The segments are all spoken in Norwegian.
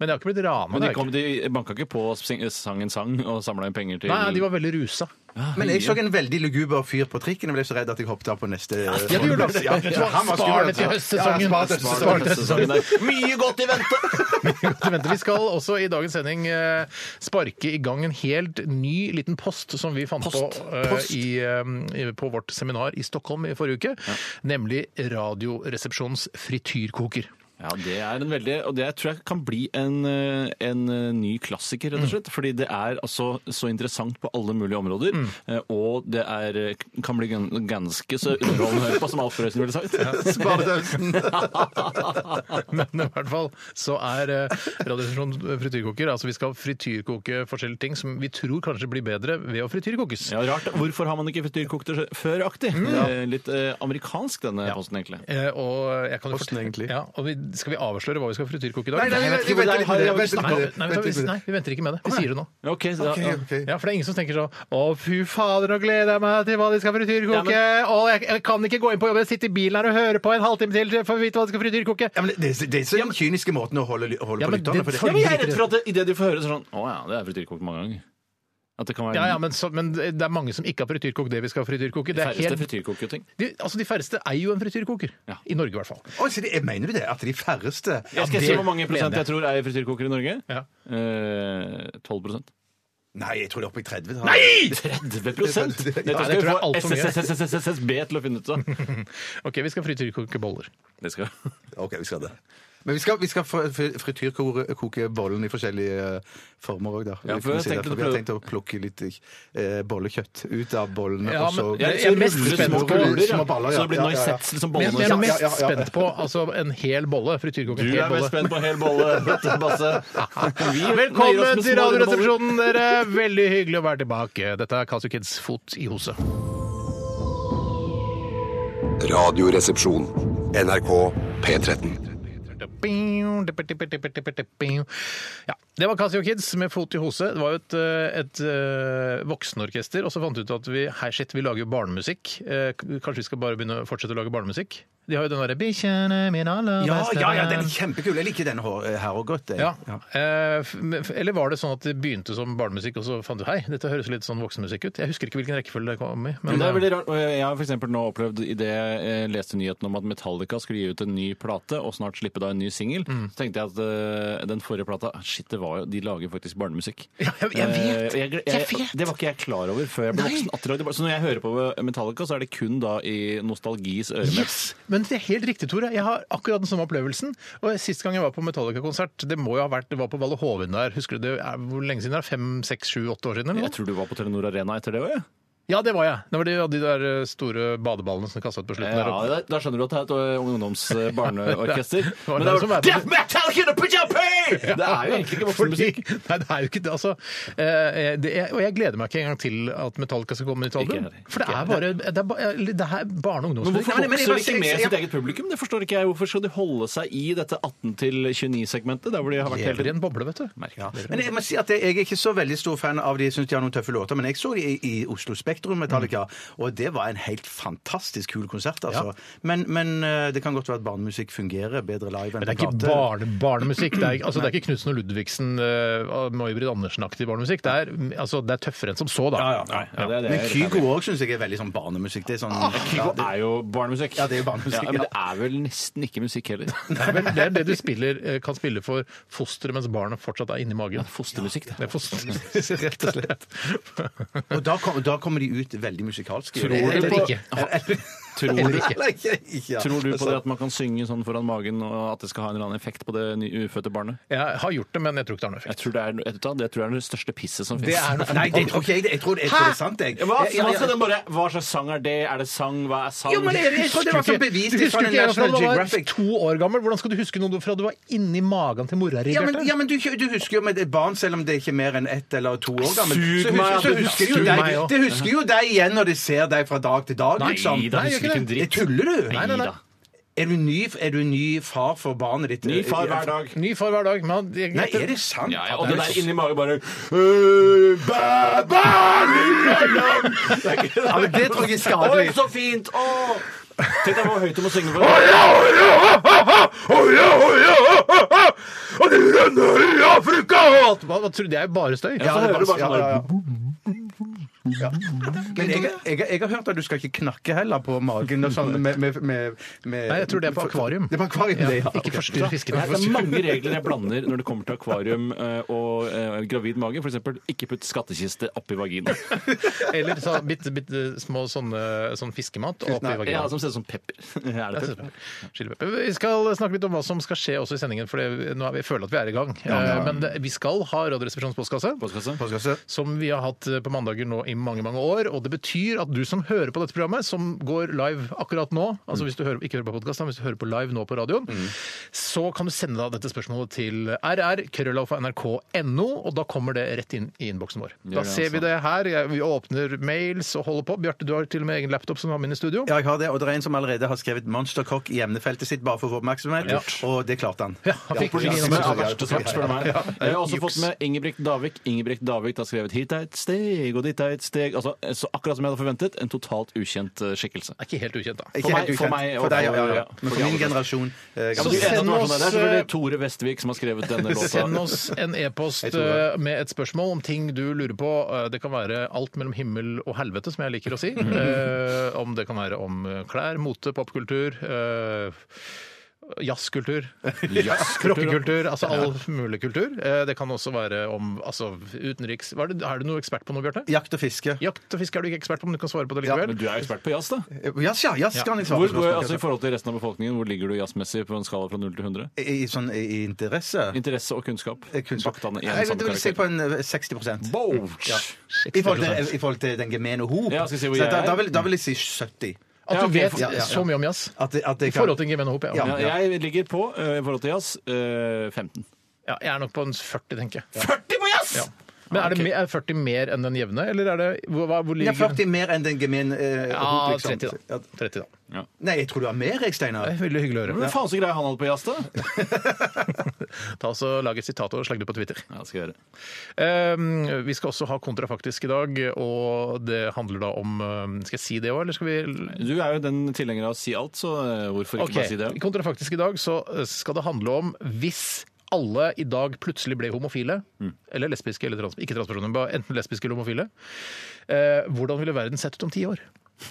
men jeg har ikke blitt rana. Men de, det har jeg kom, ikke. de banka ikke på sing- sangen sang og samla inn penger til Nei, de var veldig rusa. Men jeg så en veldig luguber fyr på trikken og ble så redd at jeg hoppet av på neste Ja, du gjorde det. Du har spart det til høstsesongen. høstsesongen. Mye godt i vente! Godt å vente. Vi skal også i dagens sending eh, sparke i gang en helt ny liten post som vi fant Post. på eh, Post. I, eh, i- på vårt seminar i Stockholm i forrige uke. Nemlig Radioresepsjonens frityrkoker. Ja, det er en veldig Og det tror jeg kan bli en, eh, en eh, ny klassiker, Mm. rett og slett. Fordi det er altså så interessant på alle mulige områder. Mm. eh, Og det er, eh, kan bli gan- ganske så underholdende å høre på, som Alf Prøysen ville sagt. Men i hvert fall så er eh, Radioresepsjonens frityrkoker Altså vi skal frityrkoke forskjellige ting som vi tror kanskje blir bedre ved å frityrkokes. Ja, rart. Hvorfor har man ikke frityrkokt det føraktig? Mm. Eh, Litt eh, amerikansk, denne posten, egentlig. Eh, og jeg kan jo Posten, fortelle- egentlig. Ja, og vi, skal vi avslørte hva vi skal frityrkoke i dag? Nei, nei, jeg vet ikke nei, hvor det vent er. litt, Har vi vent snakket- litt med det. Nei, Vent litt med vi- det. nei, vi venter ikke med det. Vi sier det nå. Ok, så, da- Ok, ok. Ja, for det er ingen som tenker sånn Å, fy fader, nå gleder jeg meg til hva de skal frityrkoke. Å, jeg, jeg kan ikke gå inn på jobb, jeg sitter i bilen her og hører på en halvtime til for å vite hva de skal frityrkoke. Ja, men det, det, det er så den kyniske måten å holde, holde Ja, på men lytterne det- for det- Ja, men jeg er redd for at det- i det de får høre, så er det sånn Å ja, det er frityrkokt mange ganger. At det kan være Ja, ja, men, så, men det er mange som ikke har frityrkokt det vi skal frityrkoke. Det er færreste helt, frityrkokte ting. de, altså, de færreste eier jo en frityrkoker. Ja. I Norge, i hvert fall. Å, så det- jeg mener du det? At de færreste Jeg skal det si hvor mange prosent jeg mener jeg. tror er frityrkoker i Norge. Ja. Eh, 12 prosent. Nei, jeg tror det er oppe i 30. Nei! 30 prosent! Ja, det Dette tror jeg skal vi er få alt for mye. SSSSB til å finne ut av. OK, vi skal frityrkoke boller. Det skal vi. OK, vi skal det. Men vi skal, vi skal fr- fr- frityrkoke bollen i forskjellige eh, former òg, da. Ja, Vi for jeg kan si det, tenkte du for vi har prøvde- tenkt å plukke litt eh, bollekjøtt ut av bollene. Ja, og så, men- Jeg Jeg er mest ruller spent små på boller, boller, ja. ja. så det blir Ja, ja, ja. noisets liksom Men jeg bollene. er ja, mest ja, ja. spent på altså, en hel bolle. Du Frityrkoke en er hel mest bolle. spent på hel bolle, Bjarte Basse. Vi nøyer oss med Velkommen små til boller. Radioresepsjonen, dere! Veldig hyggelig å være tilbake. Dette er Kasu Kids Fot i hose. Radioresepsjon. NRK P13. Ja, Det var Casio Kids med Fot i hose. Det var jo et, eh, et eh, voksenorkester. Og så fant vi ut at vi hei shit, vi lager jo barnemusikk. Eh, k- Kanskje vi skal bare begynne å fortsette å lage barnemusikk? De har jo den derre 'Bikkjene mine aller Ja, beste ja, ja, den venn». er kjempekul. Jeg liker denne hår- her òg godt. eh. jeg. Ja. Eh, f- men f- Eller var det sånn at det begynte som barnemusikk, og så fant du hei, dette høres litt sånn voksenmusikk ut? Jeg husker ikke hvilken rekkefølge det kom i. Men, eh, Men det er veldig rart. og Jeg har for eksempel nå opplevd i det jeg leste nyheten om at Metallica skulle gi ut en ny plate og snart slippe da en ny singel. Så tenkte jeg at eh, den forrige plata Shit, det var jo, de lager faktisk barnemusikk. Ja, jeg- jeg vet. Eh, og jeg- Jeg jeg- Det var ikke jeg klar over før jeg ble voksen. at de lagde bar- Så når jeg hører på eh, Metallica, så er det kun da i nostalgis øremed. Yes! Men det er helt riktig, Tore. Jeg har akkurat den samme opplevelsen. Og Sist gang jeg var på Metallica-konsert, det må jo ha vært, det var på Valle Hovin der. Husker du det? er- Hvor lenge siden det er? Fem, seks, sju, åtte år siden? Eller noe? Jeg tror du var på Telenor Arena etter det òg, jeg. Ja, det var jeg. Det var de, de der eh, store badeballene som kastet på slutten. der Ja, oppe. da, da skjønner du at det er et eh, ø, ungdoms-barneorkester. var Men det det som er var- jo Death metal, get up in your pants! Det er jo egentlig ikke voksenmusikk. Fordi- Nei, det er jo ikke det. Altså, eh, det er, og jeg gleder meg ikke engang til at Metallica skal komme med nytt Ikke album. jeg. For det er bare det er, ba- eh, det er barne- og Men ungdomsmusikk. hvorfor Nei, men- men vokser jeg bare de ikke sier- med jeg- sitt eget publikum? Det forstår ikke jeg. Hvorfor skal de holde seg i dette 18-29-segmentet? Der hvor de har vært hele Lever i tiden? en boble, vet du. Merkelig. Ja. Men jeg må si at jeg jeg er ikke så veldig stor fan av de. Jeg synes de har noen tøffe låter, men jeg så de i, i Oslo Spektrum Metallica, og det var en helt fantastisk kul konsert, altså. Men, men eh, det kan godt være at barnemusikk fungerer bedre live enn Men det er på ikke plate. barne, barnemusikk. Det er, ikke- altså, det er ikke Knutsen og Ludvigsen, uh, May-Britt Andersen-aktig barnemusikk. Det er, mm, altså, det er tøffere enn som så, da. Ja, ja. Nei, ja, det er Ah, det Men jeg er helt Kygo òg syns jeg er veldig sånn barnemusikk. Det er sånn Kygo Ja, det- er jo barnemusikk. Ja, det er jo barnemusikk, men ja. det er vel nesten ikke musikk heller. Det er vel- det er det du spiller, eh, kan spille for fosteret mens barnet fortsatt er inni magen. Fostermusikk, Det er fostermusikk, rett og slett. Og da, kom, da kommer de ut veldig musikalske. Tror du Eller på- ikke. Eller- Tror du, eller ikke, ikke, ja. tror du på det at man kan synge sånn foran magen, og at det skal ha en eller annen effekt på det ny- ufødte barnet? Jeg har gjort det, men jeg tror ikke det har noe effekt. Jeg tror det er, vet du hva, det tror jeg er det største pisset som Det fins. er noe Altså, Nei, det tror ikke jeg. Jeg tror, jeg tror det er sant, jeg. Hva, Jeg- jeg- hva, skal den bare, hva slags sang er det? Er det sang? Hva er sang? Jo, men jeg, jeg tror det var sånn bevist Du i husker sånn ikke jeg fra National du var Geographic. to år gammel? Hvordan skal du huske noe fra du var inni magen til mora di? Ja, men, Bjarte? ja, men du, du husker jo med et barn, selv om det er ikke er mer enn ett eller to år gammelt, Sug så meg, husker, så du- husker sug jo deg, meg også. det husker jo deg igjen når de ser deg fra dag til dag, Nei, da liksom. husker gjør ikke ikke en Det dritt. tuller du. Nei, nei, nei. Er du, ny, er du ny far for barnet ditt? Ny far hver dag. Ny far hver dag. Men han- jeg- Nei, er Øh, det sant? Ja, ja, og det der inni magen bare Ja, men det tror jeg er skadelig. Oi, så fint! Åh! Tenk deg hvor høyt du må synge for det. Hva, hva tror du? Det er jo bare støy. så hører du bare ja, sånn ja, ja. Men jeg, jeg, jeg har hørt at du skal ikke knakke heller på magen og sånn med, med, med, med Nei, jeg tror det er på akvarium. Det er på akvarium, det, ja. Ikke Ok. forstyrr fiskene. Det er mange regler jeg blander når det kommer til akvarium eh, og eh, gravid mage. F.eks. ikke putt skattkiste oppi vaginaen. Eller så bitte, bitte små sånne sånn fiskemat oppi Ja, sånn vaginaen. som ser ut som pepper. Er det pepper? Chilipepper. Vi skal snakke litt om hva som skal skje også i sendingen, for det, nå er vi, jeg føler at vi er i gang. Eh, Men det, vi skal ha Radioresepsjonens postkasse. Postkasse? Postkasse. som vi har hatt eh, på mandager nå i mange mange år. Og det betyr at du som hører på dette programmet, som går live akkurat nå, Mm. altså hvis du hører, ikke hører på podkast, men hvis du hører på live nå på radioen, så kan du sende da dette spørsmålet til rr.krøllalfa.nrk.no, og da kommer det rett inn i innboksen vår. Gjør Da det, ser vi altså. det her. Jeg, vi åpner mails og holder på. Bjarte, du har til og med egen laptop som du har med inn i studio. Ja, jeg har det, og det er en som allerede har skrevet 'Monsterkokk' i emnefeltet sitt bare for å få oppmerksomhet, og det klarte han. Ja, han fikk det. Portugisme er verst og svart, spør du meg. Ja, ja. Jeg har også Juks. fått med Ingebrigt Davik. Ingebrigt Davik har skrevet 'hit er et steg, og dit er et steg'. Altså, så akkurat som jeg hadde forventet, en totalt ukjent eh, skikkelse. Det er ikke helt ukjent, da. Ikke For helt meg- for ukjent. meg og- for deg, ja, ja, ja, ja. Men for for de min andre. generasjon eh, Så gammel- du send ene som var sånn, Det er oss, eh, selvfølgelig Tore Vestvik som har skrevet denne låta. Send oss en e-post Jeg tror det. eh, med et spørsmål om ting du lurer på. Eh, Det kan være alt mellom himmel og helvete, som jeg liker å si. Eh, Om det kan være om eh, klær, mote, popkultur. eh, Jazzkultur, rockekultur, altså all mulig kultur. Eh, Det kan også være om altså, utenriks... Hva Er, det, er du noe ekspert på noe, Bjarte? Jakt og fiske. Jakt og fiske er du ikke ekspert på, men du kan svare på det likevel. Men du er jo ekspert på jazz, da. Jazz, ja. Jazz kan jeg svare Hvor, på. hvor, spørsmål, altså I kanskje. forhold til resten av befolkningen, hvor ligger du jazzmessig på en skala fra 0 til 100? I, i, sånn, i i interesse? Interesse og kunnskap. Eh, Kunnskap. Bakt an i en Jeg samme vil si på karakter. en eh, 60 Boach! I forhold, til, I forhold til den gemene hop. Ja, skal jeg si hvor Så jeg da, er? da, vil, da vil jeg si 70. At Ja, du ok, vet for- ja, ja, ja. så mye om jazz. At, det- at det I forhold til Gemene Hoop, ja. Ja. Ja, jeg ligger på, ø, i forhold til jazz, ø, 15. ja. Jeg er nok på en 40, tenker jeg. 40 på jazz! Ja. Men er det Ok. me- er 40 mer enn den jevne, eller er det hvor, hva- hvor Ja, ligger 40 mer enn den gemene eh, Ja, hop, liksom. 30, da. Ja. 30, da. Nei, jeg tror du har mer, jeg, Steinar. Det er veldig hyggelig å Men høre. faen så greie han hadde på jazz, da. Ta oss og Lag et sitat og sleng det på Twitter. Ja, det skal jeg gjøre. Um, vi skal også ha kontrafaktisk i dag, og det handler da om um, Skal jeg si det òg, eller skal vi Du er jo den tilhenger av å si alt, så eh, hvorfor ikke Ok, bare si det? Kontrafaktisk i dag så eh, skal det handle om hvis alle i dag plutselig ble homofile, Mm. eller lesbiske, eller trans, ikke transpersoner, men bare enten lesbiske eller homofile, eh, hvordan ville verden sett ut om ti år?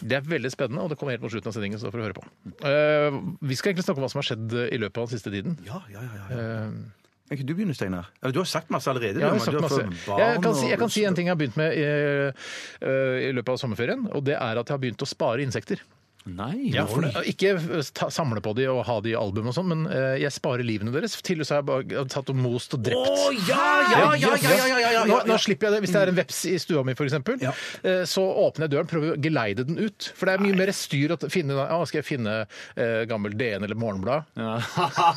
Det er veldig spennende, og det kommer helt mot slutten av sendingen, så da får du høre på. Eh, vi skal egentlig snakke om hva som har skjedd i løpet av den siste tiden. Eh, Ja, ja, ja. ja. Kan ikke du begynne, Steinar? Ja, Du har sagt masse allerede. Ja, jeg, du, men har sagt du har masse. fått barn jeg, kan si, jeg og- kan si en ting jeg har begynt med i, eh, i løpet av sommerferien, og det er at jeg har begynt å spare insekter. Nei, Ja, for hvorfor det? det, ikke eh, ta, samle på de og ha de i album og sånn, men eh, jeg sparer livene deres. Til og så har jeg bare tatt og most og drept. Å, ja, ja, ja, ja, ja, ja, ja, ja, Nå, ja, nå slipper jeg det. Hvis det er en veps i stua mi, f.eks., eksempel Ja. eh, så åpner jeg døren, prøver å geleide den ut. For det er mye mer styr å finne ah, Skal jeg finne eh, gammel DN eller Morgenblad? Ja.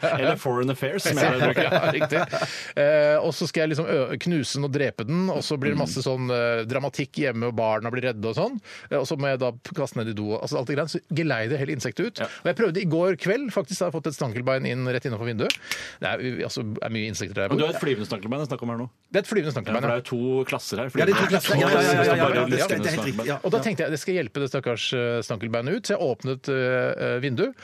ja. Eller Foreign Affairs, som jeg bruker. Ja, riktig. Eh, og så skal jeg liksom ø knuse den og drepe den, og så blir det masse sånn eh, dramatikk hjemme, og barna blir redde og sånn. Eh, og så må jeg da p- kaste ned i do og altså alt det greiene. Så geleider hele insektet ut. Og jeg prøvde i går kveld, faktisk, da har jeg fått et stankelbein inn rett innenfor vinduet. Det er, jo- altså, det er mye insekter der jeg Men du bor. har et flyvende snakkelbein jeg snakker om her nå. Det er et flyvende Ja, for stankelbein. det ja. er jo to klasser her. Ja, det er to klasser. Ja, ja, ja, ja, ja, ja, ja. Bare lyskende Det skal- det er helt snakkelbein. riktig. Ja. Og da tenkte jeg det skal hjelpe det stakkars eh, stankelbeinet ut, så jeg åpnet eh, eh, vinduet.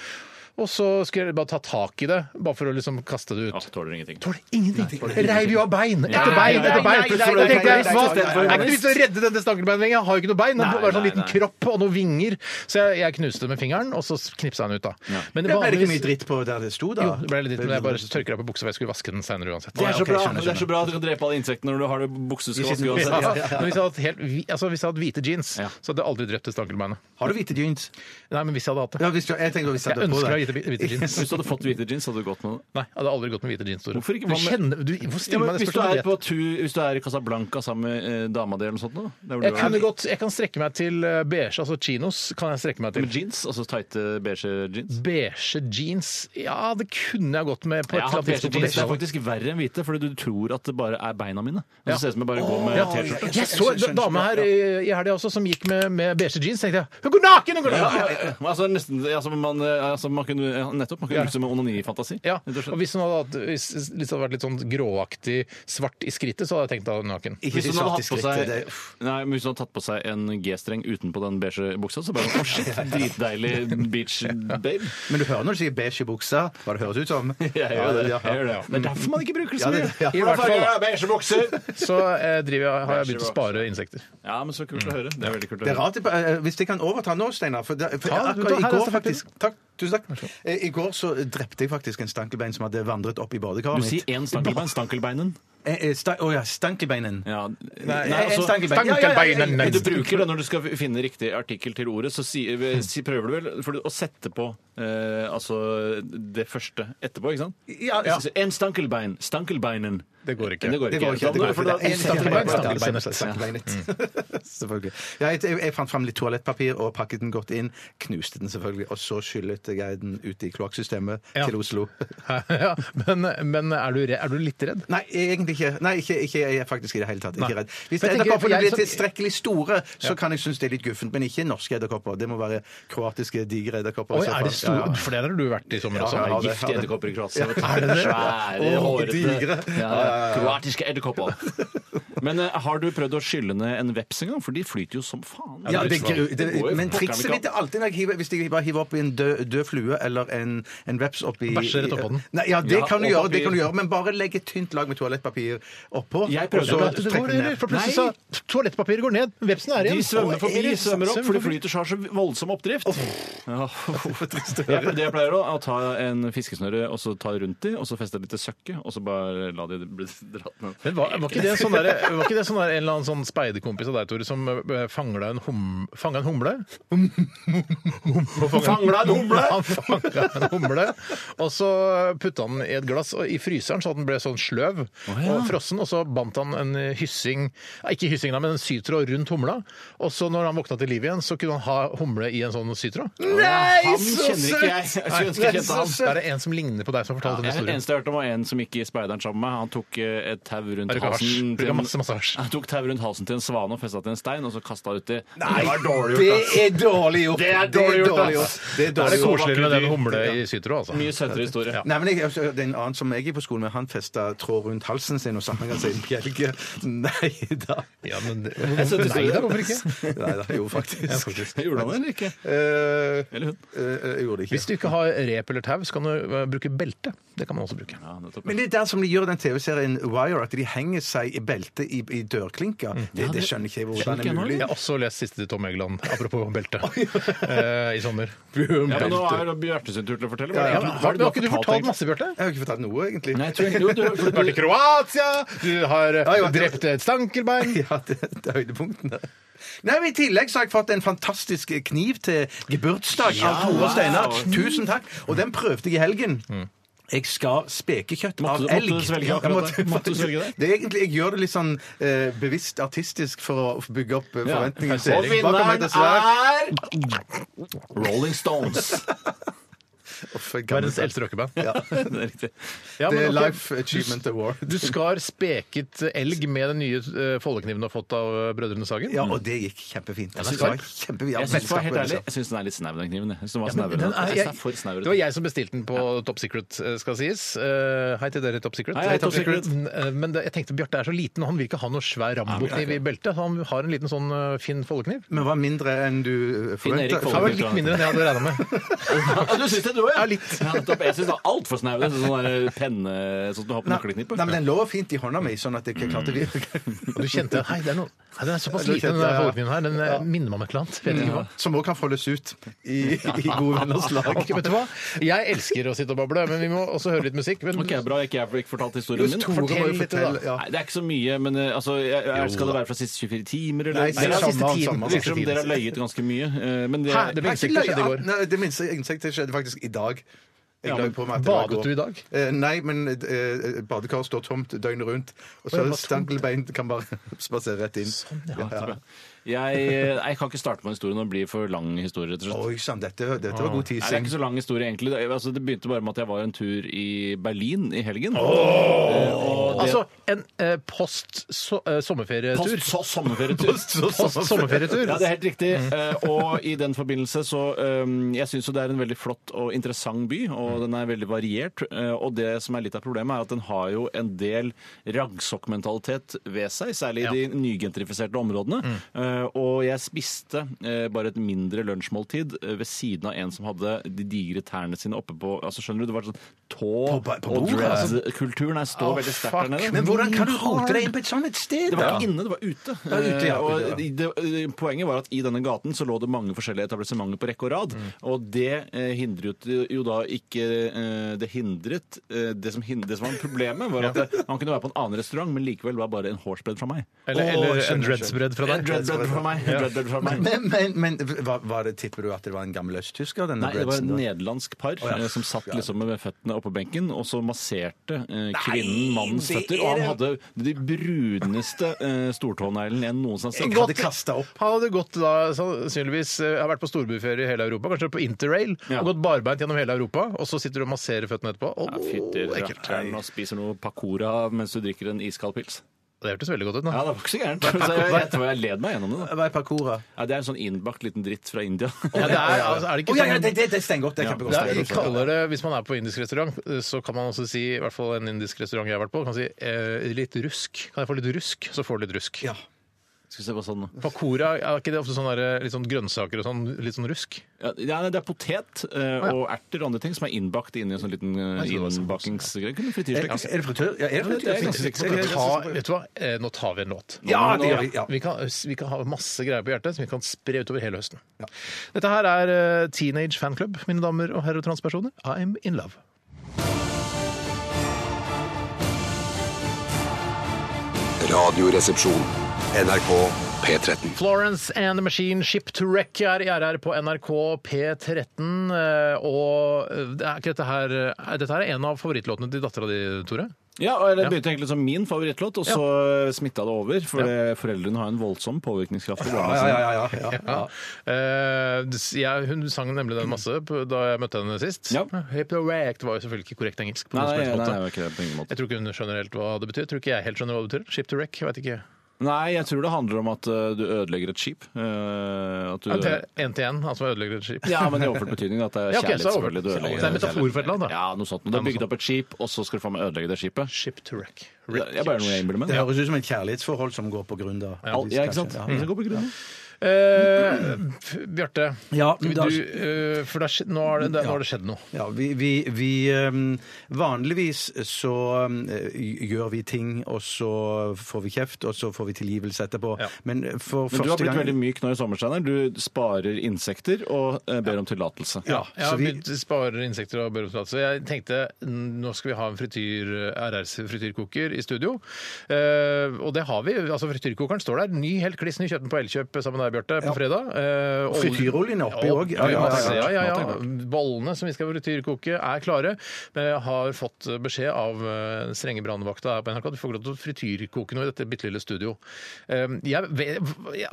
Og så skulle jeg bare ta tak i det, bare for å liksom kaste det ut. Ja, Altså, tåler ingenting. tåler ingenting. Reiv jo av bein etter Nei, bein nei, etter nei, bein. nei, Plutselig nei, tenkte jeg, nei, hva? nei, nei, Er det ikke noe vits i å redde denne stankelbeinen lenger? Jeg har jo ikke noe bein. Det er bare en sånn Nei, liten nei, nei. kropp og noen vinger. Så jeg, jeg knuste det med fingeren, og så knipsa han ut, da. Men Det ble det ikke mye vanligvis- dritt på der det sto, Jo, da? det ble litt dritt, men jeg bare tørker deg på buksa, for jeg skulle vaske den seinere uansett. Det er, så ok, bra, skjønner, det er så bra at du kan drepe alle insektene når du har det bukseskask uansett. Ja, Men hvis jeg hadde hatt, helt, hvi- altså hvis jeg hadde hatt hvite jeans, Ja. så hadde jeg aldri drept det stankelbeinet. Har du hvite jeans? Nei, men hvis jeg hadde hatt det. Ja, hvis du, jeg tenker hvis jeg Jeg hadde på ønsker å ha det. hvite, hvite jeans. Hvis du hadde fått hvite jeans, hadde du gått med det. Nei, jeg hadde aldri gått med hvite jeans. Tore. Hvorfor ikke? Du Hva med- kjenner, du, hvorfor Ja, stiller men meg det hvis, du spørsmålet? er på tur, hvis du er i Casablanca sammen med eh, dama di eller noe sånt da? Det er hvor Jeg, du er. kunne godt, jeg kan strekke meg til eh, beige, altså chinos. kan jeg strekke meg til. Med jeans, altså tighte beige jeans. Beige jeans Ja, det kunne jeg gått med på et Jeg har hatt eller annet beige tidspunkt. jeans det er faktisk verre enn hvite, fordi du tror at det bare er beina mine. Og Ja. så ser det ut som jeg bare går med Ja, T-skjorte. jeg så en dame her i, i helga også som gikk med, med beige jeans. tenkte jeg, Hun går naken! Hun går Ja, naken! ja, ja. Altså, nesten, altså, man, eh, altså, man kunne, ja, nettopp, man kunne brukt det som en onanifantasi. Ja, rett og slett. og Hvis hun hadde, hatt, hvis, hvis det hadde vært litt sånn gråaktig svart i skrittet, så hadde jeg tenkt at hun var naken. Ikke Hvis de hun hadde svarte hatt på skrittet. seg, det- uff. nei, men hvis hun hadde tatt på seg en G-streng utenpå den beige buksa, så bare sånn, «Å, shit, dritdeilig beach babe. Men du hører når du sier beige i buksa, hva det høres ut som. Jeg gjør det. Ja, Jeg gjør det ja. Det er derfor man ikke bruker det Ja, så det- mye. ja. I hvert fall da, beige bukser! så eh, driver jeg, har jeg begynt å spare insekter. Ja, men så kult å høre. Det er veldig kult å Det er høre. rart, eh, Hvis jeg kan overta nå, Steinar for, det- for Ta, akkurat du tar- her er I går stafettpinnen. faktisk Takk, tusen takk. Eh, I går så drepte jeg faktisk en stankelbein som hadde vandret opp i Du badekaret sier én stankelbein. Stankelbeinen. Eh, eh, sta- Å ja, stankelbeinen. Ja. Nei, Nei, en altså- stankelbein. Ja, ja, ja, ja, ja. Men du bruker det når du skal finne riktig artikkel til ordet, så si, eh, si, prøver du vel for å sette på eh, altså det første etterpå, ikke sant? Ja, ja. Så- En stankelbein. Stankelbeinen. Det går ikke. Det går Det ikke. går ikke. Det går ikke. For da- Det er en stankelbein, stankelbein. stankelbein. Stankelbeinet. Selvfølgelig. Ja, jeg, jeg fant fram litt toalettpapir og pakket den godt inn. Knuste den selvfølgelig. Og så skyllet jeg den ut i kloakksystemet Ja. til Oslo. ja, men men er, du, re- er du litt redd? Nei, egentlig ikke. Nei, ikke, ikke jeg er faktisk i det hele tatt. Ikke redd. Hvis For jeg tenker- for edderkoppene jeg blir som- tilstrekkelig store, så kan jeg synes det er litt guffent. Men ikke norske edderkopper. Det må være kroatiske digre edderkopper. Oi, i så er det fall. Ja, store? For der har du vært i sommer Ja, også? ja, ja, det- Giftige edderkopper i Kroatia. vet du. Er det det? Svære, Åh, digre. hårete. Ja, ja, Ja, Kroatiske edderkopper. Men eh, har du prøvd å skylle ned en veps en gang? For de flyter jo som faen. Ja, det, gru- det, går jo pokker meg men trikset ikke mitt er alltid når jeg hiver, hvis jeg bare hiver opp i en død, død flue eller en, en veps oppi Bæsjer rett oppå den. Nei, ja, det, Ja, kan du og gjøre, det papir. kan du gjøre, men bare legg et tynt lag med toalettpapir oppå. Jeg prøvde og så å- Vet du, det trekk går, den ned. eller? For plutselig så toalettpapiret går ned, vepsen er igjen. De svømmer Å, forbi, er det sant? svømmer opp, for de forbi. flyter så har så voldsom oppdrift. Ja. Jeg, det jeg pleier å, å ta en fiskesnøre og så ta rundt de, og så feste et lite søkke, og så bare la de bli dratt ned. Men var, var ikke det en sånn derre var ikke det sånn der, en eller annen sånn speiderkompis av deg, Tore, som eh, fangla en, hum, fanga en humle? Fangla en humle! Han fanga en humle, og så putta han den i et glass og i fryseren, så at den ble sånn sløv og frossen. Og så bandt han en hyssing, nei, ikke hyssing, da, men en sytråd rundt humla. Og så når han våkna til liv igjen, så kunne han ha humle i en sånn sytråd. Nei, Han kjenner ikke jeg. Jeg skulle ønske jeg kjente han. Det er det en som ligner på deg, som har fortalt Jeg er den den historien. eneste jeg har hørt om var en som gikk i speideren sammen med. Han tok eh, et tau rundt Bruker hasj. halsen Bruker masse, masse hasj. Han tok tau rundt halsen til en svane og festa til en stein, og så kasta uti. Nei, det er dårlig gjort. Det er dårlig gjort, ass. Det er Da er dårlig det gjort. koseligere med den humle i sytråd, altså. Mye søtere historie. Nei, men jeg, altså, det er en annen som jeg gikk på skolen med, han festa tråd rundt halsen sin og sammenhenga seg i en bjelke. Nei da. Ja, men det, synes nei det- da, hvorfor ikke? Nei da, jo faktisk. Gjorde han det eller ikke? Eh, Eller hun? eh, jeg gjorde det Hvis ikke. du ikke har rep eller tau, så kan du eh, bruke belte. Det kan man også bruke. Ja, nettopp. Men det er der som de gjør den TV-serien Wire, at de henger seg i beltet i, i dørklinka. Det, det skjønner ikke jeg hvordan Mm. Skjønner ikke det jeg er nå, mulig. Jeg har også lest siste til Tom Egeland, apropos belte, eh, i sommer. Ja, men nå er det Bjarte sin tur til å fortelle. Var det- Ja, var men har, det har ikke du fortalt egentlig? masse, Bjarte? Jeg har ikke fortalt noe, egentlig. Nei, jeg tror ikke- jo, du- for Du har vært i Kroatia, du har eh, ja, det- drept et stankelbein Ja, det, det er høydepunktene. Nei, men I tillegg så har jeg fått en fantastisk kniv til geburtsdag av Tore Steinar. Tusen takk. Og den prøvde jeg i helgen. Jeg skar spekekjøtt Mm. Måtte av du- måtte elg. du svelge Ja, jeg akkurat det? Måtte du svelge det? det er egentlig, jeg gjør det litt sånn eh, bevisst artistisk for å bygge opp eh, forventningene. til- Og Hva kommer jeg til å svare? vinneren er Rolling Stones. Uff, jeg kan- Verdens eldste rockeband. Ja, det er riktig. Ja, det men er ok. Life Achievement Award. Du skar speket elg med den nye eh, foldekniven du har fått av eh, Brødrene Sagen. Ja, og det gikk kjempefint. Det synes var det kjempefint. Ja, Jeg synes, for å være veldig skarp, helt veldig ærlig, skarp. jeg syns den er litt snau, den kniven. Jeg synes den var altså. Men snauere. den Jeg synes er- den er for jeg, snauere. det var jeg som bestilte den på Top Secret, eh, skal sies. Eh, hei til dere, Top Secret. Hei, hei, Top Secret. Mm, eh, Men det, jeg tenkte Bjarte er så liten, og han vil ikke ha noe svær Rambo-kniv i beltet. Han har en liten sånn eh, fin foldekniv. Men var mindre enn du eh, Erik forventa? Follum. Han var litt mindre enn jeg hadde regna med. Ja, du syns det, du òg? Ja, litt. Ja, nettopp. jeg syns det var altfor snau. Det er Sånn der penne sånn som du har på Nei, nei, men nøkkelknippet. den lå fint i hånda mi, sånn at jeg ikke klarte det. Og du kjente Hei, det er noe Hei, den er såpass Ja, du liten, den kjente, der ja, ja. foldekniven her. Den eh, minner meg om et eller annet. Vet ikke hva. Som òg kan foldes ut i, i gode venners lag. Ok, vet du hva? Jeg elsker å sitte og bable, men vi må også høre litt musikk. Men Ok, Bra ikke jeg fikk fortalt historien min. Tore må jo fortell litt, fortelle, da. ja. Nei, det er ikke så mye, men eh, altså, jeg, jeg, skal det være fra siste 24 timer? Eller? Nei, Nei, siste altså, sommer, tiden. sommer. Det virker som dere har løyet ganske mye. eh, Men det, Hæ, det ble- Nei, Insekter skjedde i går. Nei, det minste insektet skjedde faktisk i dag. Ja, Jeg la men på meg at det var Badet går. du i dag? Eh, nei, men eh, badekaret står tomt døgnet rundt. Og så det var tomt, stankelbein kan bare spasere rett inn. Sånn, ja. ja. jeg, eh, jeg kan ikke starte på en historie når det blir for lang historie, rett og slett. Oi sann, dette, dette var god Nei, det er teasing. ikke så lang historie, egentlig. Det, altså, det begynte bare med at jeg var en tur i Berlin i helgen. Eh, og det- Altså en eh, post so eh, sommerferietur. Post så sommerferietur. Post sommerferietur. Ja, det er helt riktig. Eh, og i den forbindelse så eh, Jeg syns jo det er en veldig flott og interessant by, og den er veldig variert. Eh, og det som er litt av problemet, er at den har jo en del raggsokkmentalitet ved seg, særlig i de nygentrifiserte områdene. Mm. Eh, og jeg spiste eh, bare et mindre lunsjmåltid eh, ved siden av en som hadde de digre tærne sine oppe på altså Skjønner du, det var sånn tå På ba- på og bordet, altså. dread-kulturen er stå veldig sterkt der nede. Mm. Men hvordan kan du rote deg inn på et sånt et sted? Det var da? ikke inne, det var ute. var ute, ja, Eh, ute, ja. og det, eh, poenget var at i denne gaten så lå det mange forskjellige etablissementer på rekke og rad. Mm. Og det eh, hindret jo- jo da ikke eh, Det hindret eh, det, som hin- det som var problemet, var at det, man kunne være på en annen restaurant, men likevel var bare en hårsbredd fra meg. Eller, Å, eller en skjønner, dreadsbread fra En deg. dreadbread fra meg. En dreadbread fra meg. Men, men, men var, var det, tipper du at det var en gammel østtysker? Denne Nei, det var Bredsen, et da? nederlandsk par ja. eh, som satt liksom med føttene oppå benken, og så masserte eh, Nei, kvinnen mannens det føtter. er Og han hadde det- de bruneste eh, stortåneglene jeg noensinne har sett. Jeg hadde kasta opp. Han hadde gått da, sannsynligvis eh, har vært på storbyferie i hele Europa, kanskje på interrail, Ja. og gått barbeint gjennom hele Europa, og så sitter du og masserer føttene etterpå. Åh, Ja, Fytti ekkelt. rakkeren og spiser noe pakora mens du drikker en iskald pils. Det hørtes veldig godt ut. Ja, Da. det var ikke så gærent. Så jeg, jeg tror jeg led meg gjennom det. da. Hva er parkoura? Ja, det er en sånn innbakt liten dritt fra India. Ja, det er, altså, er det Å, ikke ja, ja, sånn... det, det, det er steingodt. Det er kjempegodt. Det er, Det vi er godt. kaller det, Hvis man er på indisk restaurant, eh, så kan man også si i hvert fall en indisk restaurant jeg har vært på, kan si eh, litt rusk. Kan jeg få litt rusk? Så får du litt rusk. Ja. Skal vi se hva sånn nå. Pakora, er ikke det ofte sånn der, eh, litt sånn grønnsaker og sånn, litt sånn rusk? Ja, det er- det er potet eh, og erter og andre ting som er innbakt inn i en sånn Eh, liten eh, det var sånn. innbakingsgreie. Kunne Er frityrstekes. det fritør? Ja, er det det er jeg ganske sikker på. fritør? Ta, vet du hva? Eh, Nå tar vi en låt. Ja, det gjør vi. Ja. Vi kan, vi kan ha masse greier på hjertet som vi kan spre utover hele høsten. Dette her er eh, Teenage Fanclub, mine damer og herrer og transpersoner. I'm in love. Radioresepsjon. NRK P13. Florence and the Machine Ship to Wreck er i RR på NRK P13. eh, Og det er ikke dette her eh, Dette her er en av favorittlåtene til dattera di, Tore? Ja, og Det begynte egentlig som min favorittlåt, og så ja. smitta det over. For det- foreldrene har en voldsom påvirkningskraft. på barna Ja, sine. ja, ja, ja, ja. Eh, s- jeg, hun sang nemlig den masse p- da jeg møtte henne sist. Ja. Hip to Wreck det var jo selvfølgelig ikke korrekt engelsk. på Nei, noen som nei, helst nei, måte. det var ikke det på ingen måte. Jeg tror ikke hun skjønner helt hva det betyr. Jeg tror ikke jeg helt skjønner hva det betyr. Ship to wreck, jeg vet ikke. Nei, jeg tror det handler om at eh, du ødelegger et skip. eh, At du, Ja, det er én til én, han som ødelegger et skip. Ja, men i overført betydning. At det er Ja, ok, kjærlighet, så er det selvfølgelig. Du overført. ødelegger Så det er en metafor for et eller annet, da. Ja, noe sånt. Du har bygd opp et skip, og så skal du faen meg ødelegge det skipet. Ship to wreck. Det er bare noe jeg innbiller meg. Det høres ut som et kjærlighetsforhold som går på grunn da. Ja, ikke sant? Det går på grunn av. Eh, f- Bjarte, Ja, du, men da- eh, for det har skjedd- nå har det, det, nå har det skjedd noe. Ja, vi, vi, vi ehm, Vanligvis så ehm, gjør vi ting, og så får vi kjeft, og så får vi tilgivelse etterpå. Ja. Men eh, Men for du har første blitt gang veldig myk nå i sommersteiner. Du sparer insekter og eh, ber om tillatelse. Ja, Jeg så har vi, begynt å spare insekter og børreplater. Så jeg tenkte n- nå skal vi ha en frityr, eh, RRs frityrkoker i studio. Eh, og det har vi. altså Frityrkokeren står der. Ny, helt kliss ny. Kjøpt den på Elkjøp sammen med deg, Bjarte, på fredag. Eh, og- Frityroljen oppi Ja, òg. Ja, ja, ja, ja. ja, Mat ja. er Bollene som vi skal frityrkoke, er klare. Men jeg har fått beskjed av eh, den strenge brannvakta her på NRK at du får ikke lov til å frityrkoke noe i dette bitte lille studio. Eh, Jeg, vet-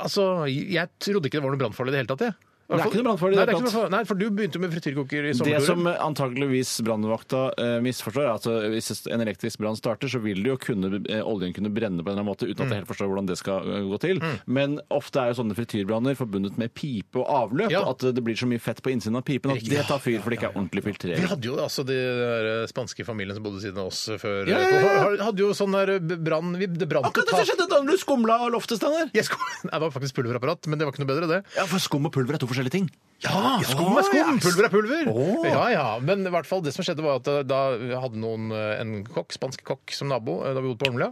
altså, jeg trodde ikke det var noe brannfarlig i det hele tatt, jeg. Det er ikke noe brannfarlig i Nei, det det er hele ikke noe brannfarlig. Nei, for du begynte med frityrkoker i Det sommer. som Tore. antakeligvis brannvakta eh, misforstår, er at eh, hvis en elektrisk brann starter, så vil det jo kunne, eh, oljen kunne brenne på en eller annen måte uten at jeg helt forstår hvordan det skal eh, gå til. Men ofte er jo sånne frityrbranner forbundet med pipe og avløp, Ja. at eh, det blir så mye fett på innsiden av pipen at Riktig. det tar fyr fordi det ikke er ordentlig Vi filtrering. hadde jo altså de der spanske familien som bodde siden av oss før. eh, Ja, ja, ja. Har- Hadde jo sånn der brann... vi- Det brant Akkurat det som skjedde da du skumla loftet, Steinar! Jeg skulle- Nei, Det var faktisk pulverapparat, men det var ikke noe bedre, det. Ja, for skum og pulver er to forskjellige ting. Ja, skum er Å, skum, ja. pulver er pulver. Å. Ja, ja, Men i hvert fall det som skjedde var at eh, da hadde noen eh, en kokk, spansk kokk som nabo eh, da vi bodde på Ormlia,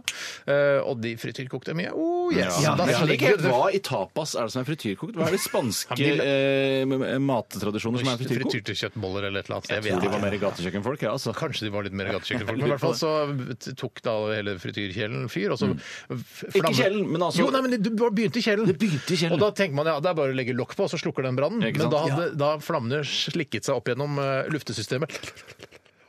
eh, og de frityrkokte mye. Oh, yes. Ja, Da men jeg skjønner ikke helt legger- hva i tapas er det som er frityrkokt? Hva er det spanske Ja, men de- eh, m- m- mattradisjoner som er frityrkokt? Frityrte kjøttboller eller et eller annet. Jeg tror de var mer gatekjøkkenfolk, ja, altså. Kanskje de var litt mer gatekjøkkenfolk. Men i hvert fall så t- tok da hele frityrkjelen fyr. Og så f- Mm. Ikke flamme- kjelen, men altså- Jo, nei, men det det begynte i kjelen. Det begynte i kjelen. Og da tenker man ja, det er bare å legge lokk på, og så slukker den brannen. Ikke Men sant? da hadde da flammene slikket seg opp gjennom eh, luftesystemet.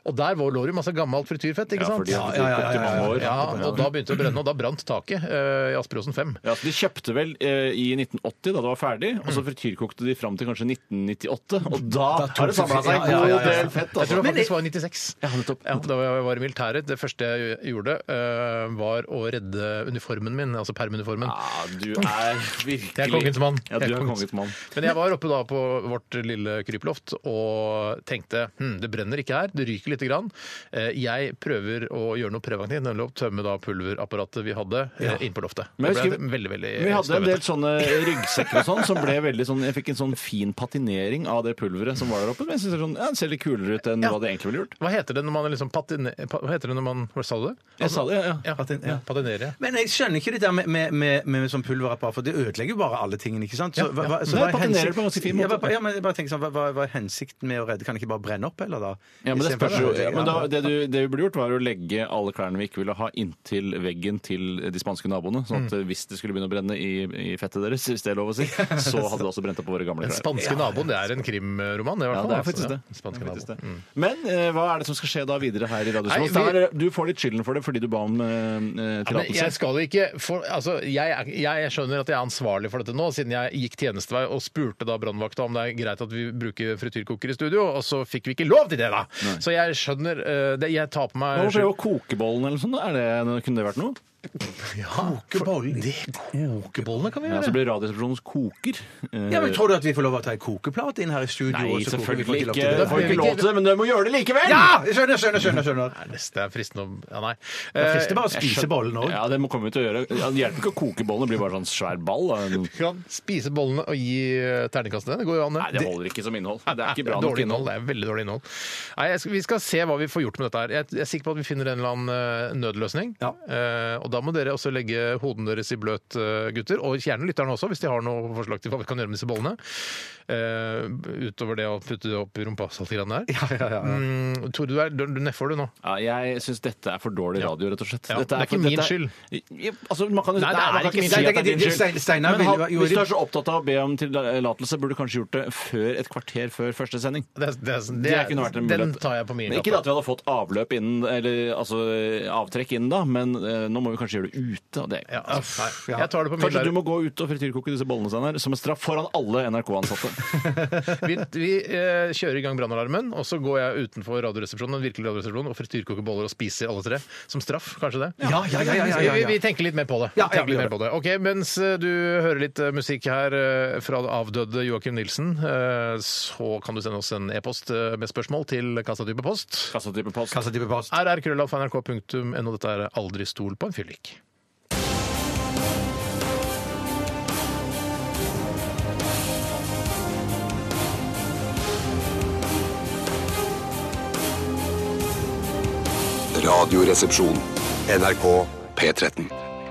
Og der var- lå det jo masse gammelt frityrfett, ikke Ja, for sant? de har frityrkokt i mange år. Ja, og da begynte det å brenne, og da brant taket eh, i Asperåsen 5. Ja, så De kjøpte vel eh, i 1980, da det var ferdig, og så frityrkokte de fram til kanskje 1998. Og da har det samla seg en Ja, ja, god ja, ja. del fett. Jeg Altså. tror det faktisk var i 96. Ja, nettopp. Ja, da jeg var i militæret, det første jeg gjorde, eh, var å redde uniformen min, altså permuniformen. Ja, du er virkelig Jeg er kongens mann. Ja, du Jeg er er kongens- kongens mann. Men jeg var oppe da på vårt lille kryploft og tenkte hm, det brenner ikke her, det ryker lite grann. Eh, Jeg prøver å gjøre noe preventivt, nemlig å tømme da pulverapparatet vi hadde eh, inn på loftet. Men Det jeg ble husker- veldig, veldig Vi hadde en støvete. del sånne ryggsekker og sånn som ble veldig sånn Jeg fikk en sånn fin patinering av det pulveret som var der oppe. Men jeg synes det er sånn, ja, det ser litt kulere ut enn Ja. hva det egentlig ville gjort. Hva heter det når man er liksom patine... pa- Hva heter det når man Hva sa du? Jeg sa det, ja. ja. Ja, Patin- ja. patinere. Men jeg skjønner ikke det der med, med, med, med, sånn pulverapparat, for det ødelegger jo bare alle tingene, ikke sant? Ja, ja. Nei, er patinerer hensikt- på en ganske fin måte. Ja, bare- Ja, men jeg bare tenker sånn, hva, hva, hva er hensikten med å redde? Kan det ikke bare brenne opp, eller da? Ja, men det Istedenfor spørs å jo. ødelegge, Men da, ja. det, du, det vi burde gjort, var å legge alle klærne vi ikke ville ha, inntil veggen til de spanske naboene. Sånn at eh, hvis det skulle begynne å brenne i, i fettet deres, hvis det er lov å si, så hadde det også brent opp på våre gamle Den klær. spanske naboen, det er en krimroman. i hvert Ja, fall, det er altså, faktisk det. Den spanske Det er faktisk naboen. det. Men eh, hva er det som skal skje da videre her i Nei, vi- Radiosporet? Du får litt skylden for det fordi du ba om eh, eh, Ja, men jeg tillatelse. skal jo ikke for, altså, jeg, er- jeg skjønner at jeg er ansvarlig for dette nå, siden jeg gikk tjenestevei og spurte da brannvakta om det er greit at vi bruker frityrkoker i studio, og så fikk vi ikke lov til det, da! Så jeg skjønner eh, det, Jeg tar på meg Hva skjer jo kokebollen eller noe sånt? Er det, kunne det vært noe? Kokebollen. Kokebollene kan vi Ja, så gjøre! blir Radioresepsjonens koker. eh, Ja, men Tror du at vi får lov å ta en kokeplate inn her i studio? Nei, og så koker vi selvfølgelig lov ikke. til det? Du får ikke lov til det, men du må gjøre det likevel! Ja! Jeg skjønner, skjønner, skjønner. skjønner. Nei, neste er fristende å Ja, nei. Eh, Det er fristende bare å Jeg spise skjønner- bollen òg. Ja, det må komme ut og gjøre. Ja, Det hjelper ikke å koke bollen, det blir bare sånn svær ball. Da. En- Eh, kan spise bollene og gi eh, terningkastene. Det går jo an, Nei, det holder ikke som innhold. Det er ikke bra nok dårlig innhold. innhold. Det er veldig dårlig innhold. Nei, jeg skal, vi skal se hva vi får gjort med dette her. Jeg, jeg er sikker på at vi finner en eller annen eh, nødløsning. Ja. Eh, og Og da må dere også legge hodene deres i bløt, eh, gutter. Og gjerne lytterne også, hvis de har noe forslag til hva vi kan gjøre med disse bollene. Eh, utover det å putte det opp i rumpa så litt grann der. Ja, ja, ja. Mm, Tore, du, er- du du neffer du nå. Ja, jeg syns dette er for dårlig radio, rett og slett. Ja, det er ikke min skyld. Ja, Altså, man kan, Nei, det er man kan ikke min si skyld. at det er Nei, det er din ikke- skyld. Steinar Men ville han- jo- hvis du er så opptatt av å be om tillatelse, burde du kanskje gjort det før et kvarter før første sending. Det, er- det, er- det, Det er- kunne vært en den mulighet. tar jeg på min Men lapp. Ikke da at vi hadde fått avløp innen, eller altså eh, avtrekk innen da, men eh, nå må vi kanskje gjøre det ute. Og det. Ja, uff, nei, jeg tar det på min Kanskje du lapp. må gå ut og frityrkoke disse bollene Steinar, som en straff foran alle NRK-ansatte. Vi, vi eh, kjører i gang brannalarmen, og så går jeg utenfor radioresepsjonen den virkelige radioresepsjonen, og frityrkoker boller og spiser alle tre. Som straff, kanskje det? Ja, ja, ja, ja, ja, ja, ja. Vi, vi tenker litt mer på det. Ja, Vi tenker ja, vi litt gjør mer på det. Ok, Mens eh, du hører litt eh, musikk her eh, fra det avdøde Joakim Nilsen, eh, så kan du sende oss en e-post eh, med spørsmål til kassatype post. Kassatype post. Kassa type post. rrkrøllalfa.nrk.no. Dette er Aldri stol på en fyllik. Radioresepsjon. NRK P13.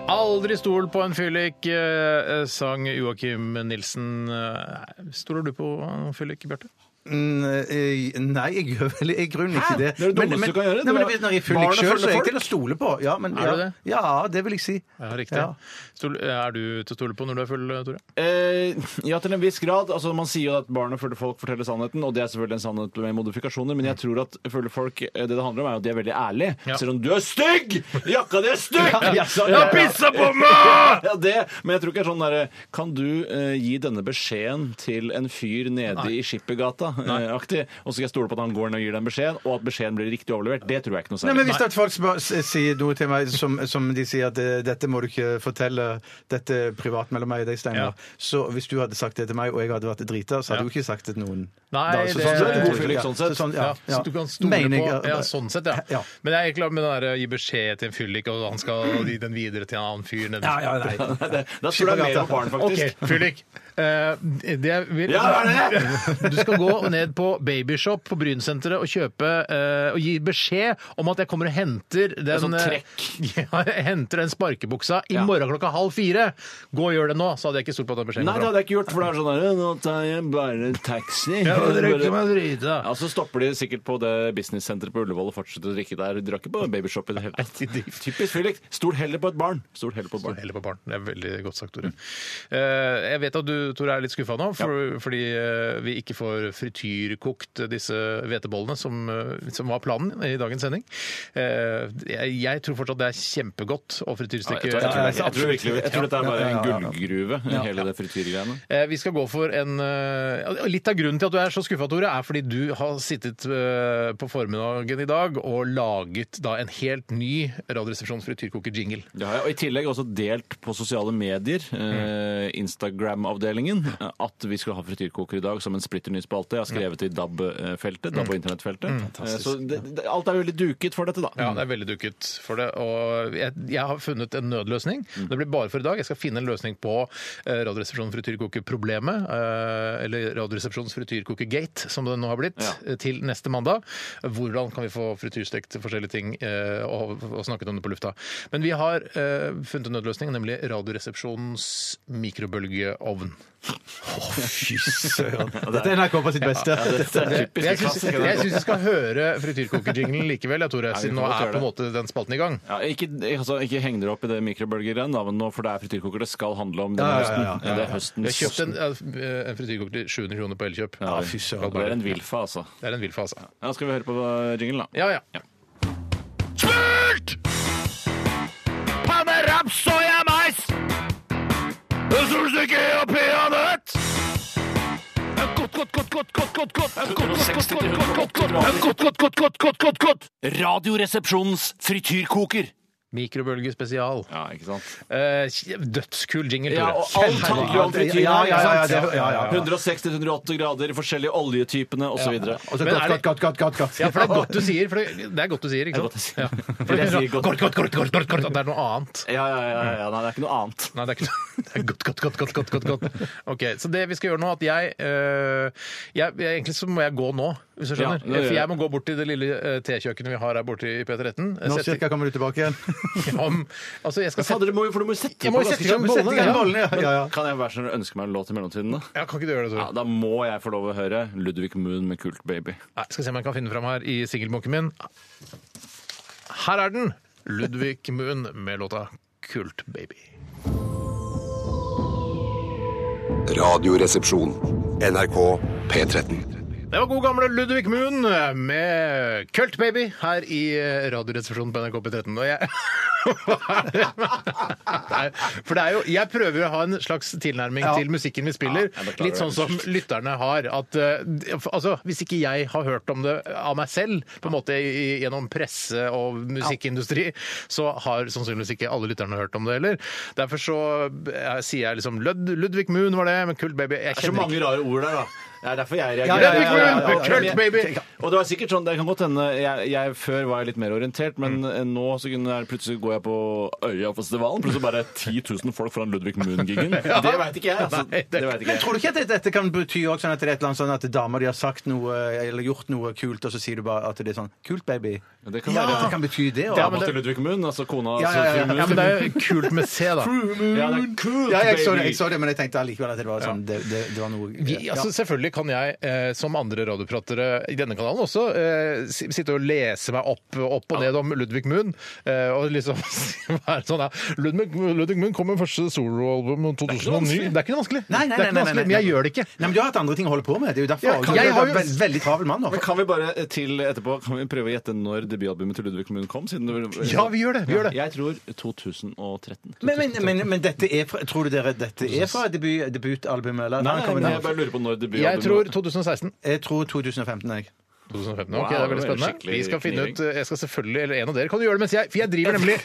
Aldri stol på en fyllik, eh, sang Joakim Nilsen. Eh, Stoler du på en fyllik, Bjarte? Mm, eh, Nei, jeg gjør vel i grunnen ikke det. Det er det Men- dummeste men- du kan gjøre. Nei, men Det er- Når jeg er Barnet fyllik sjøl, så er jeg følger til å stole på. Ja, men, Er ja, du det? ja, det vil jeg si. Ja, riktig. Ja. Stol, er du til å stole på når du er full, Tore? Eh, ja, til en viss grad. Altså, man sier jo at barnet føler folk forteller sannheten, og det er selvfølgelig en sannhet med modifikasjoner, men jeg tror at føler folk, eh, det det handler om, er jo at de er veldig ærlige. Ja. Selv om 'du er stygg! Jakka di er stygg! Ja, ja, Så- ja, ja. Pissa på meg! Ja, det, men jeg tror ikke det er sånn derre Kan du eh, gi denne beskjeden til en fyr nede i Skippergata? eh, aktig, og så skal jeg stole på at han går ned og gir den beskjeden, og at beskjeden blir riktig overlevert? Det tror jeg ikke noe Nei, særlig. men Hvis at folk spør, s- sier noe til meg som, som de sier at eh, dette må du ikke fortelle, dette er privat mellom meg og deg, Steinar Ja. Så hvis du hadde sagt det til meg, og jeg hadde vært drita, så hadde du ikke sagt det til noen. Nei, Da, så det- sånn Du er en god sett- fyllik, ja, sånn sett. så sånn, Ja, ja, ja. Så du kan stole Mener jeg, på ja. ja, Sånn sett, ja. Ja. Men jeg er klar med det der, å gi beskjed til en fyllik, og han skal gi den videre til en annen fyr nede. Ja, ja, nei. det, da tror jeg det er mer om barn, faktisk. OK, fyllik. Eh, det jeg vil, Ja, hva Du skal gå ned på Babyshop på Brynsenteret og kjøpe eh, og gi beskjed om at jeg kommer og henter den sånn eh, Ja, jeg henter den sparkebuksa i Ja. morgen klokka halv fire. Gå og gjør det nå, så hadde jeg ikke stolt på at den beskjeden Nei, det hadde jeg ikke gjort, for det er sånn der Nå tar jeg bare taxi. Ja, Så stopper de sikkert på det businessenteret på Ullevål og fortsetter å drikke der. De drar ikke på babyshop i det hele tatt. Typisk Felix. Stol heller på et barn. Stol heller på et barn. Heller på barn. Det er veldig godt sagt, Tore. Eh, jeg vet at du, Tore, er litt skuffa nå, for, fordi eh, vi ikke får frityrkokt disse hvetebollene, som, eh, som var planen i dagens sending. Eh, jeg, jeg tror fortsatt det er kjempegodt å Ja, frityrstykke. jeg, tror, jeg, tror, det- jeg, tror virkelig, jeg tror dette er bare en Ja, ja, ja. gullgruve, hele det frityrgreiene. Eh, Vi skal gå for en eh, ja, Litt av grunnen til at du er så skuffa, Tore, er fordi du har sittet eh, på formiddagen i dag og laget da en helt ny Radioresepsjonens frityrkoker-jingle. Det har jeg, og I tillegg også delt på sosiale medier, eh, Instagram-avdelingen, eh, at vi skulle ha frityrkoker i dag som en splitter ny spalte. Jeg har skrevet i DAB-feltet, DAB- og internettfeltet. Eh, Så det, det, alt er veldig duket for dette, da. Ja, det er veldig dukket for det. Og jeg, jeg har funnet en nødløsning. Mm. Det blir bare for i dag. Jeg skal finne en løsning på eh, Radioresepsjonens frityrkoker-problemet, eh, eller Radioresepsjonens frityrkoker-gate, som det nå har blitt, Ja. eh, til neste mandag. Hvordan kan vi få frityrstekt forskjellige ting eh, og, og snakket om det på lufta. Men vi har eh, funnet en nødløsning, nemlig Radioresepsjonens mikrobølgeovn. Dette er NRK på sitt beste. Dette er typisk Jeg syns klassiker. jeg syns vi skal høre frityrkokerjinglen likevel, jeg, Tore, vi siden får nå godt er gjøre på en måte den spalten i gang. Ja, ikke, altså, ikke heng dere opp i det mikrobølgegreiene, da, men nå, for det er frityrkoker det skal handle om denne Ja, ja, ja, høsten. Det er høstens Vi har kjøpt en, en frityrkoker til 700 kroner på Elkjøp. Ja, fy søren. Det er en vilfa, altså. Det er en vill fase. Ja, skal vi høre på eh, jinglen, da? Ja, ja. Ja. Smurt! Panne, raps, soya, mais! Solstykke og peanøtt! Godt, godt, godt, godt, godt, godt, godt, godt, godt, godt, godt, godt, godt, godt, godt, godt, godt. Radioresepsjonens frityrkoker. Mikrobølge spesial. Ja, ikke sant? Eh, dødskul jingle, Ja, Tore. og alt handler jo om frityr. Ja, ja, ja, ja, det- ja, ja, ja. 160-108 grader, forskjellige oljetypene osv. Og så Men er godt, det- godt, godt, godt, godt. Ja, for det er godt du sier. For det, det er godt du sier, ikke Det er sant? Ja. godt du sier. For det, Jeg sier er sånn godt. godt, godt, godt, godt, godt, godt. Det er noe annet. Ja, ja, ja, ja, ja. Nei, det er ikke noe annet. Nei, det er ikke noe. Det er godt, godt, godt, godt, eh, godt, godt, godt. Ok, så det vi skal gjøre nå, at jeg, øh, jeg, jeg Egentlig så må jeg gå nå. hvis du skjønner. Ja, det gjør For jeg. jeg må gå bort til det lille eh, tekjøkkenet vi har her borte i P13. eh, Nå sette- cirka kommer du tilbake igjen. om, altså, jeg skal sette Fader, du må jo for du må jo sette Jeg må på jo ganske sette i gang- kjapt. sette i gang bollene, ja. Men Ja, ja. Kan jeg være sånn og ønske meg en låt i mellomtiden, da? ja, kan ikke du gjøre det, Tore? Ja, da må jeg få lov å høre Ludvig Moon med Kult Baby. Nei, skal se om jeg kan finne fram her i singelbunken min. Her er den! Ludvig Moon med låta Kult Baby. Radioresepsjon. NRK P13. Det var god gamle Ludvig Moon eh, med Kult Baby her i eh, Radioresepsjonen på NRK P13. Og jeg Hva er det? Nei, For det er jo Jeg prøver å ha en slags tilnærming til musikken vi spiller. Ja, jeg beklager. litt sånn som lytterne har. At eh, de- altså, hvis ikke jeg har hørt om det av meg selv, på en måte i- gjennom presse og musikkindustri, så har sannsynligvis ikke alle lytterne hørt om det heller. Derfor så eh, sier jeg liksom Lud Ludvig Moon var det, men Kult Baby Jeg Det er så kjenner mange rare ord der, da. Det er derfor jeg ja, reagerer. ja, ja, ja, ja, ja. Kult, baby! Og det var sikkert sånn, det kan godt hende jeg, jeg Før var jeg litt mer orientert, men eh, nå så kunne jeg, plutselig går jeg på Øyafestivalen. Plutselig bare 10 000 folk foran Ludvig Moon-gigen. Det veit ikke jeg. Altså, Nei, det- det vet ikke Men jeg. tror du ikke at dette kan bety også sånn at det er et eller annet sånn at damer de har sagt noe eller gjort noe kult, og så sier du bare at det er sånn Kult, baby. Men Det kan Ja, være det kan bety det. Ja, også. men det... Ludvig Moon, altså kona Ja, ja, ja. Sophie Moon. Ja, men det er jo kult med C, da. Ja, det er kult, Ja, jeg så, det, baby. jeg så det, men jeg tenkte allikevel at det var sånn Det, det, det var noe Vi, altså, Eh, ja. Selvfølgelig kan jeg, eh, som andre radiopratere i denne kanalen også, eh, si- sitte og lese meg opp, opp og ned om Ludvig Moon. Eh, og liksom være sånn ja, Ludvig, Ludvig Moon kom med første soloalbum i 2009. Det er ikke noe vanskelig. Nei, Det er ikke noe nei, nei, nei, vanskelig, nei, nei. Men jeg gjør det ikke. Nei, men Du har hatt andre ting å holde på med. Det er jo derfor. Ja, også. kan- Du er jeg har en jo- veld, veldig travel mann nå. Men kan vi bare eh, til etterpå kan vi prøve å gjette når debutalbumet til Ludvig Moon kom? Siden det, Ja, vi gjør det. Vi gjør det. Jeg tror 2013. Men, men, men, men dette er fra, tror du dere dette er fra debut, debutalbumet? Eller? Nei, Nei, men jeg bare lurer på når Jeg debutalbumet tror 2016. Jeg tror 2015, jeg. 2015. Wow, Ok, det er det veldig er spennende. skikkelig Vi skal finne kniving. ut Jeg skal selvfølgelig, eller en av dere kan jo gjøre det mens jeg For jeg driver nemlig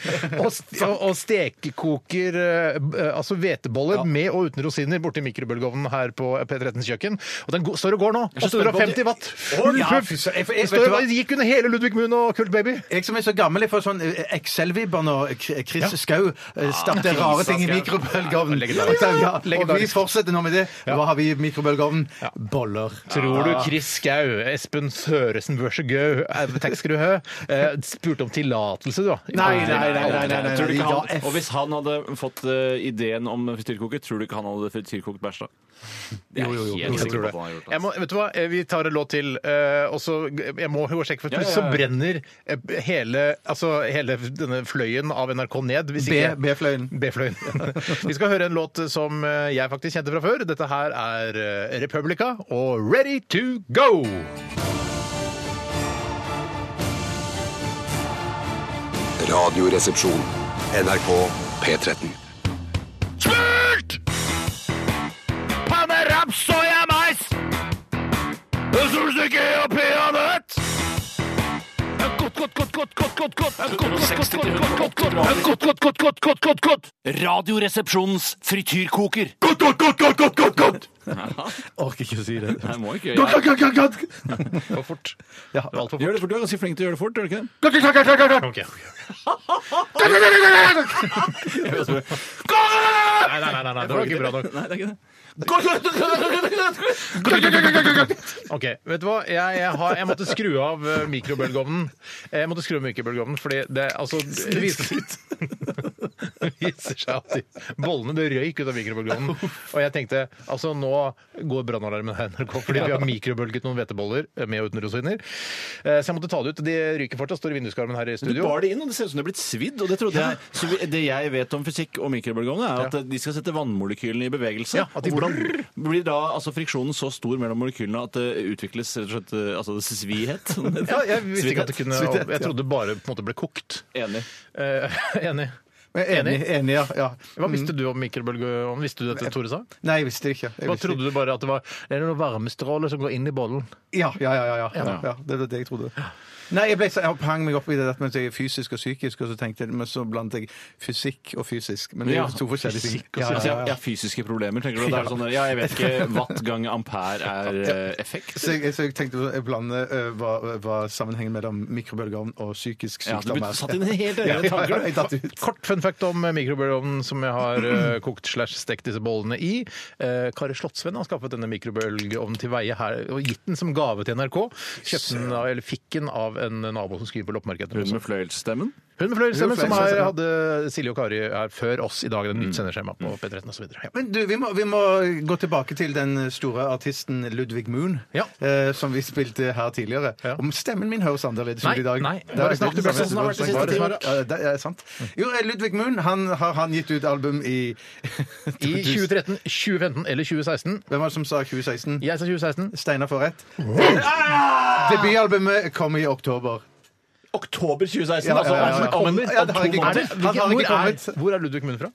og, st og- og stekekoker eh, b- eh, altså hveteboller med og uten rosiner borti mikrobølgeovnen her på P13s kjøkken. Og den go- står og går nå. er så spent på 850 det. watt. Å, Full ja, puff! fy søren. Jeg- jeg- Den vet står- du hva? den Gikk under hele Ludvig Moon og Kult Baby. Jeg som er så gammel, jeg får sånn eh, Excel-vibber når K- Chris Skau eh, stappet rare ting i Skau. mikrobølgeovnen. Ja, og vi Legendarisk. fortsetter nå med det. Hva har vi i mikrobølgeovnen? Boller. Ah, Tror du Chris Skau, Espen Søresen, vær så god, eh, takk skal du ha, eh, spurte om tillatelse, du, da? Nei, nei, nei, nei, nei, nei. Tror du ikke Ja, han, F. og hvis han hadde fått eh, ideen om frityrkoker, tror du ikke han hadde frityrkokt bæsj da? Det er Jo, jo, jo. jeg helt Jeg sikker på tror det. at han har gjort. Jeg må, vet du hva, Eh, vi tar en låt til, eh, og så Jeg må jo sjekke, for Ja, ja, ja. plutselig så brenner eh, hele, altså, hele denne fløyen av NRK ned. hvis ikke- B- B-fløyen. B-fløyen. vi skal høre en låt som eh, jeg faktisk kjente fra før. Dette her er eh, Republica og Ready to Go! Radioresepsjon. NRK P13. Smurt! Panne, raps, soya, mais. Solstykke og peanøtt. Godt, godt, godt, godt, godt, godt, godt. Godt, godt, godt, godt, godt, godt, godt, godt, godt, godt, godt, godt. Radioresepsjonens frityrkoker. Godt, godt, godt, godt, godt, godt, godt. Orker ikke å si det. Nei, må ikke. Godt, godt, godt, godt, godt. For fort. Ja. Altfor fort. Gjør det fort, Du er ganske flink til å gjøre det fort, er du ikke det? Ok. Nei, nei, nei, nei, nei, det var ikke bra nok. Nei, det er ikke det. Ok, vet du hva? Jeg, jeg, har, jeg måtte skru av eh, mikrobølgeovnen. Jeg måtte skru av mikrobølgeovnen, fordi det altså det viser, det viser seg at de bollene det røyk ut av mikrobølgeovnen. Og jeg tenkte altså nå går brannalarmen her i NRK fordi vi har mikrobølget noen hveteboller eh, med og uten rosiner. Eh, Så jeg måtte ta det ut. De ryker fortsatt, står i vinduskarmen her i Du studio. bar det inn, og det ser ut som det er blitt svidd. og Det trodde jeg. Så vi- det jeg vet om fysikk og mikrobølgeovner, er at de skal sette vannmolekylene i bevegelse. Ja, at de og hvordan blir da altså, friksjonen så stor mellom molekylene at det utvikles rett og slett eh, altså, svihet? Ja, jeg visste ikke at det Svihet. kunne Jeg trodde bare på en måte ble kokt. Enig. Eh, Enig. Enig. Enig, ja. ja. Hva visste du om mikrobølgeovnen? Visste du dette, Tore sa? Nei, Mm. jeg visste det ikke. Jeg Hva visste det trodde du bare at det var Det er noen varmestråler som går inn i bollen? Ja, ja, ja. ja, ja. ja. det var det jeg trodde. Nei, jeg, ble, så- jeg hang meg opp i det at mens jeg er fysisk og psykisk, og så tenkte jeg, men så blandet jeg fysikk og fysisk. Men det er jo to forskjellige ting. Fysikk og Ja, psykisk. ja, ja. Ja, fysiske problemer, tenker du. Det er sånn, der, ja, jeg vet ikke watt gang ampere er eh, effekt. Så jeg, så jeg tenkte å blande ø, eh, hva, hva sammenhengen mellom mikrobølgeovn og psykisk Ja, du sykdom satt inn helt egne Ja, ja, tanker. jeg datt ut. Kort fun fact om eh, mikrobølgeovnen som jeg har eh, kokt slash stekt disse bollene i. Eh, Kari Slottsvenn har skaffet denne mikrobølgeovnen til veie her og gitt den som gave til NRK. Kjøpte den av, eller fikk den av en nabo som skriver på loppemarkedet. Hun med fløyelsstemmen? Hun med fløyelsestemmen som fløyelsestemmen, er, ja. hadde Silje og Kari her før oss i dag. Den nytt sendeskjema på P13 osv. Ja. Mm. Men du, vi må, vi må gå tilbake til den store artisten Ludvig Moon, Ja. eh, som vi spilte her tidligere. Ja. Om stemmen min høres annerledes Nei, ut i dag. nei, Det bare er snakk, veldig du ble sånn som det har vært de siste Mm. Bare ti snakk. årene. Ja, det er sant. Jo, eh, Ludvig Moon, han, har han gitt ut album i I 2013, 2015 eller 2016. Hvem var det som sa 2016? Jeg sa 2016. Steinar får rett. Ah! Debutalbumet kommer i oktober. Oktober 2016, Ja, altså. ja, ja, ja. altså, Kommer Ja, det har jeg ikke om to kommet. måneder. Han har ikke hvor, kommet. er, hvor er Ludvig Munn fra?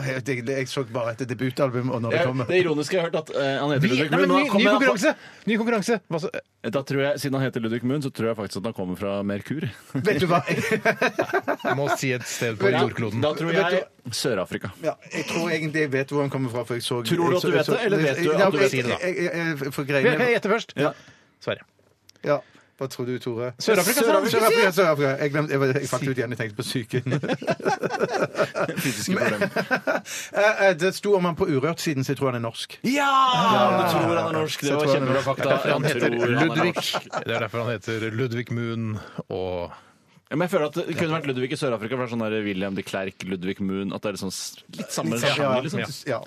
Åh, Jeg, jeg, jeg så bare etter debutalbum og når det kommer. Det ironiske jeg har hørt at eh, han heter Ludvig Nei, men Moon. ny, og han ny kommer- altså konkurranse! Ny konkurranse. Hva så? Eh, Da tror jeg, Siden han heter Ludvig Moon, så tror jeg faktisk at han kommer fra Merkur. Vet du hva? Jeg, Jeg må si et sted på jordkloden. Da tror jeg Sør-Afrika. ja, jeg tror egentlig jeg vet hvor han kommer fra. For jeg så, Tror du at du jeg vet så- det, eller vet du at Ja, du jeg- sier det da? Jeg, jeg, jeg, for Kan jeg greiene gjette først? Ja. Sverige. ja. Hva tror du, Tore? Sør-Afrika, sa han. Sør-Afrika. Sør-Afrika. Jeg glemte, jeg, jeg falt ut igjen, jeg tenkte på psyken. Fysiske problemer. Eh, eh, Det sto om han på Urørt-siden, så jeg tror han er norsk. Ja! Du tror han er norsk. Det Så var tror han er kjempebra norsk. fakta. Derfor han Jeg heter tror han er Ludvig. norsk. Det er derfor han heter Ludvig Moon og Ja, men jeg føler at Det kunne vært Ludvig i Sør-Afrika, for det er sånn der William de Klerk, Ludvig Moon At det er litt sånn s- litt samme sjanger. liksom. ja.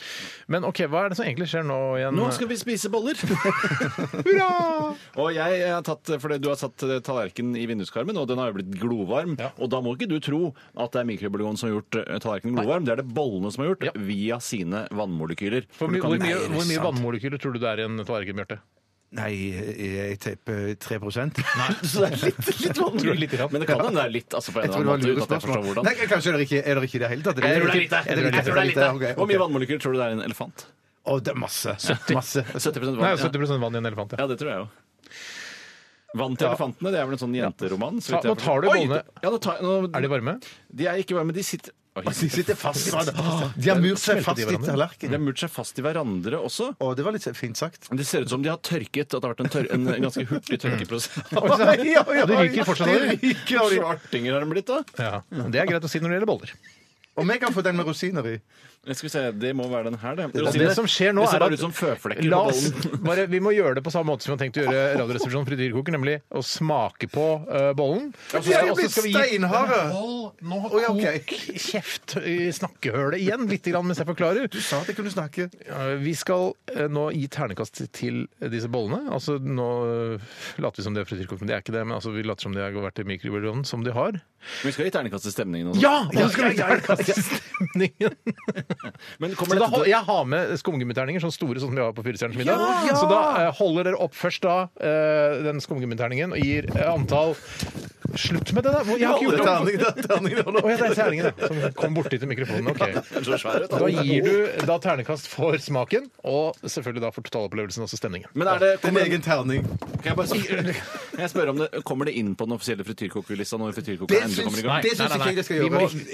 Men OK, hva er det som egentlig skjer nå igjen? Nå skal vi spise boller! og jeg har tatt, fordi Du har satt eh, tallerkenen i vinduskarmen, og den har jo blitt glovarm. Ja. Og da må ikke du tro at det er mikrobølgeovnen som har gjort eh, tallerkenen glovarm. Det er det bollene som har gjort, Ja. via sine vannmolekyler. For Du mye- kan hvor, ikke- Nei, mye, hvor det mye er sant. vannmolekyler tror du det er i en tallerken, Bjarte? Nei, jeg jeg tipper 3 Så det er litt, litt Tror du litt grann? vannmolekyler. Men det kan hende det er litt altså på en Jeg tror eller det var annen måte, uten lure at jeg spørsmål. forstår hvordan. Nei, kanskje er det ikke er det ikke i det hele tatt? Jeg tror det er litt, jeg tror det er litt, jeg tror det er litt. ok, Hvor mye ok. vannmolekyler tror du det er i en elefant? Å, det er masse. Masse. 70 vann. Nei, ja. 70 vann i en elefant. Ja. Ja, det tror jeg jo. Vann til elefantene, det er vel en sånn jenteroman? så Ta- vidt jeg nå tar forstår. du Oi! bollene. Ja, nå tar, nå, Er de varme? De er ikke varme, de sitter Oi, De sitter fast. De har murt seg fast i De tallerkenen. har murt seg fast i hverandre også. Å, det var litt fint sagt. Det ser ut som de har tørket, at det har vært en, tør en ganske hurtig tørkeprosess. Og de ryker fortsatt av De det. ryker av de. Svartinger har de blitt, da. Ja. Det er greit å si når det gjelder boller. Om jeg kan få den med rosiner i? Skal vi se, Det må være den her, det. Og det som skjer nå det ser er bare at ut som føflekker La på oss bollen. bare, Vi må gjøre det på samme måte som vi har tenkt å gjøre Radioresepsjonen frityrkoker, nemlig å smake på eh, bollen. Og så Jeg skal- er og så blitt skal vi gi- steinharde! Hold nå Å, ja, ok. kok kjeft i snakkehølet igjen, litt grann, mens jeg forklarer. Du sa at jeg kunne snakke. Eh, Vi skal eh, nå gi ternekast til disse bollene. Altså, nå eh, later vi som det er frityrkokt, men det er ikke det. Men altså, vi later som det har vært i mikrobølgeovnen, som de har. Vi skal gi terningkast til stemningen. Også. Ja! Og så skal vi gi ternekast til stemningen. Men Så kommer da, dette hol- til jeg har med skumgummiterninger, sånn store sånn som vi har på Fyrstjernens middag. Ja! Så da eh, holder dere opp først da eh, den skumgummiterningen og gir eh, antall Slutt med det, da! Hvor- Jeg har ikke gjort det! Terning, terning, terning. Å ja, det er terningen, ja. Som kom borti til mikrofonen. ok. Den er så svær ut, da. Da gir du da ternekast for smaken, og selvfølgelig da for totalopplevelsen, altså stemningen. Men er det, Din kommer, egen terning. kan jeg bare spørre, jeg spør om det, kommer det inn på den offisielle frityrkokerlista når Det frityrkokeren endelig syns kommer i det gang? Nei, syns nei, nei. ikke jeg det skal Vi gjøre. må- Ikke- Det ikke-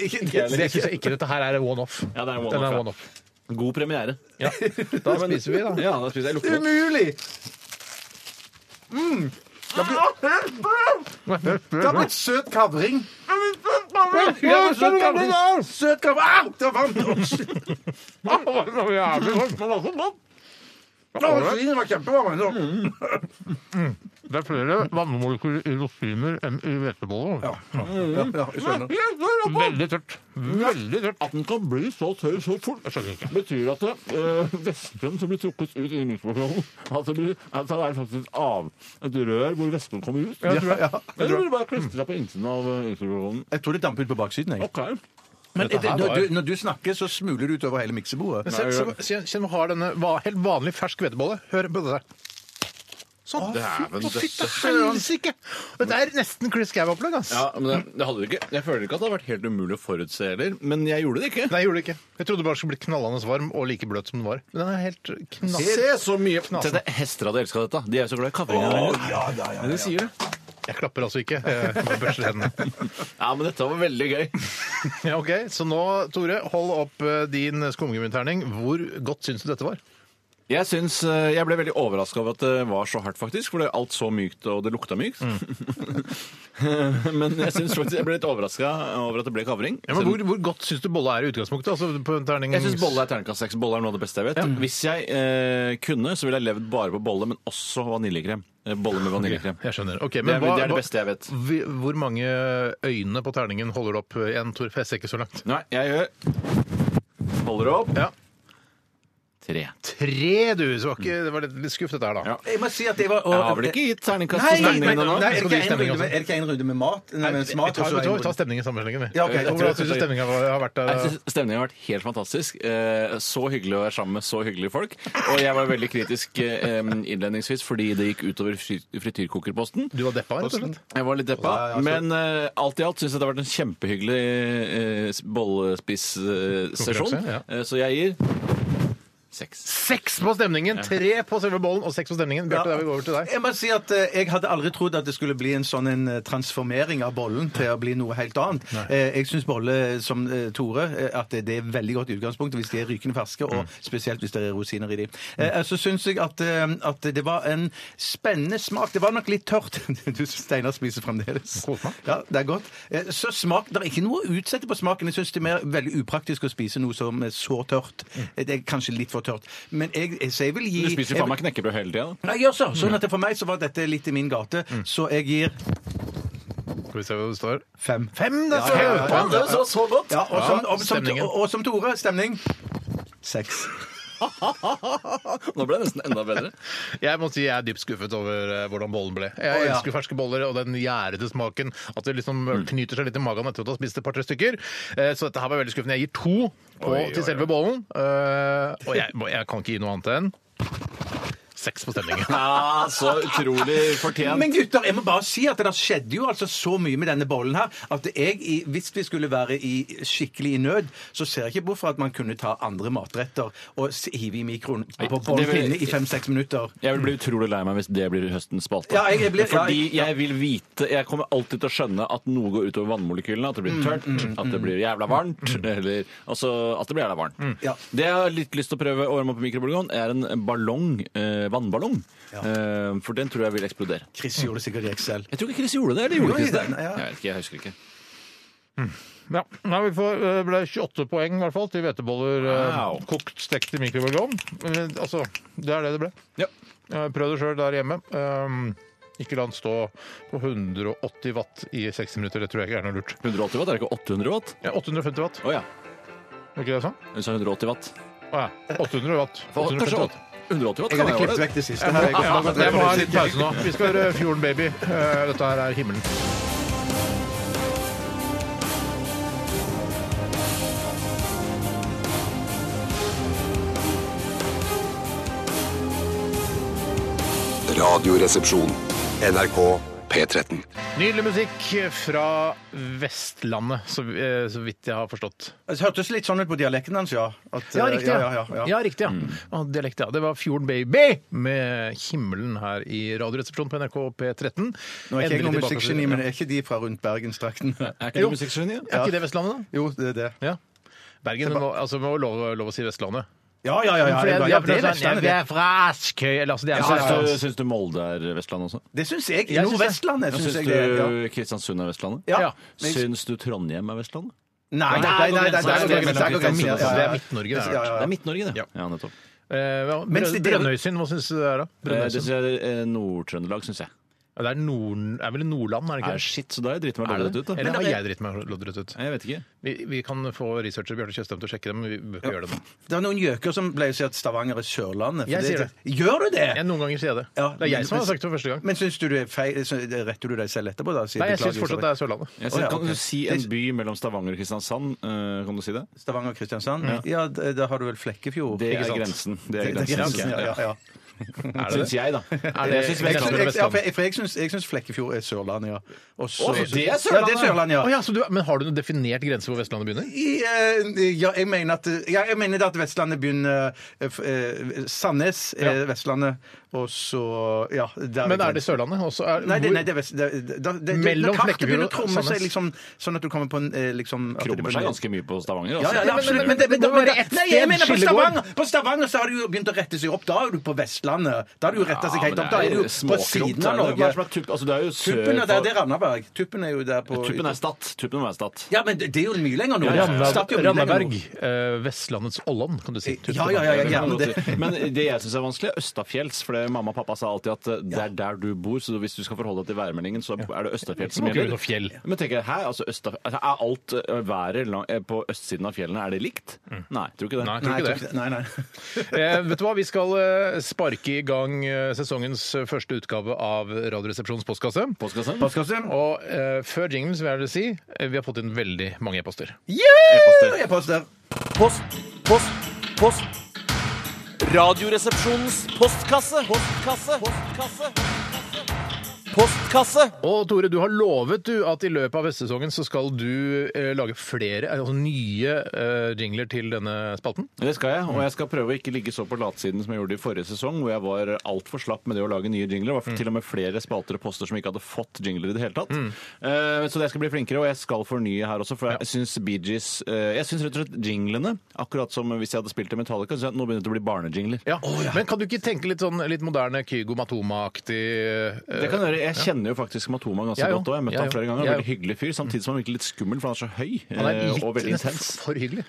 syns jeg ikke. Dette her er one-off. Ja, det er en Den er one-off, ja. one-off. God premiere. Ja. Da spiser vi, da. Ja, da spiser jeg lukter den. Umulig! Mm. Ah, Det har blitt søt kavring. Det har blitt søt kavring. Søt kavring. Au! Det var varmt. Rosiner var kjempevarme. Det er flere vannmolekyler i rosiner enn i hveteboller. Ja, ja, jeg skjønner. Veldig tørt. Veldig tørt. At den kan bli så tørr så fort, Jeg skjønner ikke. betyr at uh, vespen som blir trukket ut i mikrofonen, at det, blir, at det er faktisk et av et rør hvor vespen kommer ut. Jeg tror det. Eller vil det bare klistre seg på innsiden av eh, mikrofonen? Jeg tror det damper ut på baksiden. Jeg. Ok. Men Dette her når, var- du, når du snakker, så smuler det utover hele miksebordet. Se- se- Kjenn kjenn hvor hard denne va- helt vanlig fersk hvetebolle. Hør på det der. Sånn. Dæven Å, fytti døtte. helsike! Dette er nesten Chris Gab-opplegg, ass. Ja, men det, det hadde du ikke. Jeg føler ikke at det hadde vært helt umulig å forutse heller, men jeg gjorde det ikke. Nei, jeg gjorde det ikke. Jeg trodde bare den skulle bli knallende varm og like bløt som den var. Men den er helt knass. så mye Tenk deg, Hester hadde elska dette. De er jo så glad i kavring. Men de sier det. Jeg klapper altså ikke. Jeg bare børster hendene. Ja, men dette var veldig gøy. Ja, ok. Så nå, Tore, hold opp eh, din skumgummiterning. Hvor godt syns du dette var? Jeg syns eh, Jeg ble veldig overraska over at det var så hardt, faktisk. For det er alt så mykt, og det lukta mykt. Men jeg synes faktisk jeg ble litt overraska over at det ble kavring. Ja, men hvor, hvor godt syns du bolle er i utgangspunktet? Altså på en terning... Jeg syns bolle er terningkast seks. Bolle er noe av det beste jeg vet. Hvis jeg eh, kunne, så ville jeg levd bare på bolle, men også vaniljekrem. Eh, Bolle med vaniljekrem. Jeg skjønner. Ok, Det, men er, hva, det er hva- det beste jeg vet. vi- Hvor mange øyne på terningen holder du opp igjen, Torf? Jeg ser ikke så langt. Nei, jeg gjør Holder opp. Ja. Tre. Tre, du! Så var ikke, det var litt, litt skuff, dette her, da. Ja. Jeg må si at jeg var Jeg har vel ikke gitt terningkast Nei, til nei, nei, stemningen ennå? nei, er, Skal du det gi ikke en stemning runde også? med, er det ikke en runde med mat? Nei, med Vi smak tar, og så vet du hva, vi en tar stemningen sammen slengen, vi. Ja, ok, jeg tror Hvordan det. syns du stemninga har vært eh, der? Jeg synes Stemningen har vært helt fantastisk. Eh, Så hyggelig å være sammen med så hyggelige folk. Og jeg var veldig kritisk eh, innledningsvis fordi det gikk utover fri- frityrkokerposten. Du var deppa, rett og slett? Jeg var litt deppa, men eh, alt i alt syns jeg det har vært en kjempehyggelig uh, bollespissesjon. Konkurranse, ja. Eh, så jeg gir seks. Seks på stemningen! Tre på selve bollen og seks på stemningen. Bjarte, da vil vi gå over til deg. Jeg må si at eh, jeg hadde aldri trodd at det skulle bli en sånn en eh, transformering av bollen til å bli noe helt annet. Eh, Jeg syns bolle som eh, Tore eh, at det er veldig godt utgangspunkt hvis de er rykende ferske, og Mm. spesielt hvis det er rosiner i de. Eh, Så syns jeg at, eh, at det var en spennende smak. Det var nok litt tørt. Du Steinar spiser fremdeles. Kos meg. Ja, det er godt. Eh, Så smak Det er ikke noe å utsette på smaken. Jeg syns det er mer veldig upraktisk å spise noe som er så tørt. Mm. Eh, Det er kanskje litt for tørt. Men jeg, så jeg vil gi Du spiser jo faen meg knekkebrød hele tida. Nei, gjør så. Sånn at det for meg så var dette litt i min gate, så jeg gir Skal vi se hva det står. fem. Fem, det står! ja, ja, ja. Fem, det står. så godt! Ja, og, som, Ja, og, som, stemningen. og, og som Tore, stemning? Seks. Nå ble det nesten enda bedre. Jeg må si jeg er dypt skuffet over eh, hvordan bollen ble. Jeg Å, ja. elsker ferske boller og den gjærete smaken. At det liksom knyter seg litt i magen etter at du har spist et par-tre stykker. Eh, Så dette her var veldig skuffende. Jeg gir to på, Oi, oi, til selve bollen. Eh, Og jeg, må- jeg kan ikke gi noe annet enn seks på stemningen. Ja, så utrolig Men fortjent. gutter, jeg må bare si at det skjedde jo altså så mye med denne bollen her at jeg, i- hvis vi skulle være i, skikkelig i nød, så ser jeg ikke hvorfor at man kunne ta andre matretter og s- hive i mikroen på det vil- bollpinne i fem-seks minutter. Jeg vil bli utrolig lei meg hvis det blir høstens spalte. Ja, jeg- jeg blir- ja, Fordi jeg- ja. jeg vil vite Jeg kommer alltid til å skjønne at noe går utover vannmolekylene. At det Mm, blir tørt, at det blir jævla varmt, eller altså at det blir jævla varmt. Ja. Det jeg har litt lyst til å prøve å varme opp i mikrobølgeovn, er en ballong, eh, vannballong. Eh, for den tror jeg vil eksplodere. Chris gjorde det sikkert i Excel. Jeg tror ikke Chris gjorde det. Eller gjorde Gjorde Chris det? den, ja. Jeg vet ikke, jeg husker ikke. Ja, Nei, vi får, eh, ble 28 poeng i hvert fall til hveteboller eh, Wow. kokt, stekt i mikrobølgeovn. Eh, Altså, det er det det ble. Ja. Eh, Prøv det sjøl der hjemme. Um, Ikke la den stå på 180 watt i 60 minutter. Det tror jeg ikke er noe lurt. 180 watt, er det ikke 800 watt? Ja, 850 watt, Å ja. er ikke det sånn? Hun sa 180 watt. Å ja. 800 watt. For, 850 kanskje watt. 180 watt Jeg kan hadde jeg klippet gjøre. vekk det siste. her. Ja, jeg må ha en liten pause nå. Vi skal høre Fjorden Baby. Eh, Dette her er himmelen. Radioresepsjon. NRK P13. Nydelig musikk fra Vestlandet, så, eh, så vidt jeg har forstått. Det hørtes litt sånn ut på dialekten hans, ja. At, eh, Ja, ja, ja, Mm. ja. riktig, ja. Ja, dialekt, ja. Det var Fjorden Baby med himmelen her i Radioresepsjonen på NRK P13. Nå er ikke jeg Endelig noen tilbake- musikkgeni, men er ikke de fra rundt Bergenstrakten? Er Jo. ikke du musikkgeni? Er ikke det Vestlandet, da? Jo, det er det. Ja. Bergen må, altså, må lov, lov å si Vestlandet. Ja, ja, ja. ja, For jeg- det, er bra. jeg ja, prøvde det, å er si, Vestlandet, «Nei, vi er fra Askøy, eller altså, det er Syns Vestlandet. du, syns du Molde er Vestlandet også? det. Det syns jeg. Jeg synes det. Nordvestlandet syns Syns jeg du det. er, Ja. Kristiansund er Vestlandet? Ja. Ja. Men- Syns du Trondheim er Vestlandet? Nei, nei, nei, nei, der går Det er grensen, der går grensen. Midt- Ja, ja, ja. det er Midt-Norge, det er. Ja, ja, Det ja. er Midt-Norge, det. Ja. nettopp. Eh, ja, Mens Brø- de- Brønnøysund, hva syns du det er, da? Eh, Det Brønnøysund. sier jeg, eh, Nord-Trøndelag, syns jeg. Ja, det er, nord, er vel Nordland, er det Er ikke det? shit, så da har jeg driti meg Er det loddrett det? ut. da. Eller Men har det- jeg dritt meg loddrett ut? Nei, Jeg vet ikke. Vi, vi kan få researcher Bjarte Tjøstheim til å sjekke det, men vi bør ikke gjøre det nå. Det er noen gjøker som pleier å si at Stavanger er Sørlandet. for Jeg sier Gjør du det? Jeg, noen ganger sier jeg det. Ja, det er men- jeg som har sagt det for første gang. Men syns du du er feil? så Retter du deg selv etterpå, da? Nei, jeg syns fortsatt det er Sørlandet. Jeg Å, sier, ja, kan ok. du si en by mellom Stavanger og Kristiansand? Eh, Kan du si det? er Stavanger og Kristiansand? Ja, d- da har du vel Flekkefjord? Det Ikke er sant. grensen. Det er Det- det er grensen. grensen, ja, ja, ja. Syns jeg, da. det- Jeg syns Jeg, Vestlandet er jeg, Vestlandet. jeg, for jeg syns- jeg syns Flekkefjord er Sørlandet, ja. Og så- Å, det er Ja, det er Sørlandet. Sørlandet, ja. Å ja, så du, men har du noen definert grense hvor Vestlandet begynner? I, eh, ja, jeg mener at, ja, jeg mener at Vestlandet begynner eh, f- eh, Sandnes er Ja. Vestlandet, og så Ja. der Men er det grensen. Sørlandet også? Er, Nei, det, hvor- nei, det er vest... Det, det, det, det, Mellom når kartet Flekkefjord begynner og å krumme seg, Sandnes. liksom, sånn at du kommer på en eh, liksom, at det krummer begynner- seg ganske mye på Stavanger. altså. Ja, ja, ja, men- absolutt. men- Men det, men, det må men- være ett nei, sted jeg mener på skillet går. Stavanger, på Stavanger så har det jo begynt å rette seg opp. Da er du på Vestlandet. Da har du jo retta seg helt opp. altså, Da er du jo på siden av Norge. Altså, det er jo sør Tuppen er der, det er for- Randaberg. Tuppen er jo der på Tuppen er Stad. Tuppen må være Stad. Ja, men det det er jo mye lenger nå. Randaberg- Stad er jo mye lenger Randaberg, nå. eh, Vestlandets Olland, kan du si. Ja, ja, ja, ja, ja, men det, Men det jeg syns er vanskelig, er Østafjells. For det, mamma og pappa sa alltid at eh, det er der du bor, så hvis du skal forholde deg til værmeldingen, så er det Østafjells som må gjelder. ikke vi noe fjell. Men tenker jeg, hæ, altså Østaf altså, Er alt eh, været lang- eh, på østsiden av fjellene, er det likt? Nei, tror ikke det. Mm. Nei, jeg Nei, tror jeg ikke tror det. ikke det. nei, nei. Eh, vet du hva, Vi skal eh, sparke i gang eh, sesongens eh, første utgave av Radioresepsjonens postkasse. Postkassen? Og eh, før jinglen så vil jeg gjerne si eh, vi har fått inn veldig mange e-poster. E-poster. Jeg påstår. Post, post, post. Radioresepsjonens postkasse. Postkasse. Postkasse. Postkasse. Og Tore, du har lovet du at i løpet av høstsesongen så skal du eh, lage flere, eh, altså nye eh, jingler til denne spalten. Det skal jeg, og jeg skal prøve å ikke ligge så på latsiden som jeg gjorde i forrige sesong, hvor jeg var altfor slapp med det å lage nye jingler. Det var til og med flere spalter og poster som ikke hadde fått jingler i det hele tatt. Mm. Eh, så det skal bli flinkere, og jeg skal fornye her også, for jeg syns Bee Gees eh, Jeg syns rett og slett jinglene, akkurat som hvis jeg hadde spilt i Metallica, så nå begynner det å bli barnejingler. Ja. Men kan du ikke tenke litt sånn litt moderne Kygo Matoma-aktig eh, Det kan jeg gjøre. Jeg kjenner jo faktisk Matoma ganske Jeg jo. godt òg. Jeg møtte Jeg han jo. flere ganger. Jeg Veldig hyggelig fyr, samtidig som han virker litt skummel, for han er så høy Han er eh, litt og veldig nesten intens. for hyggelig.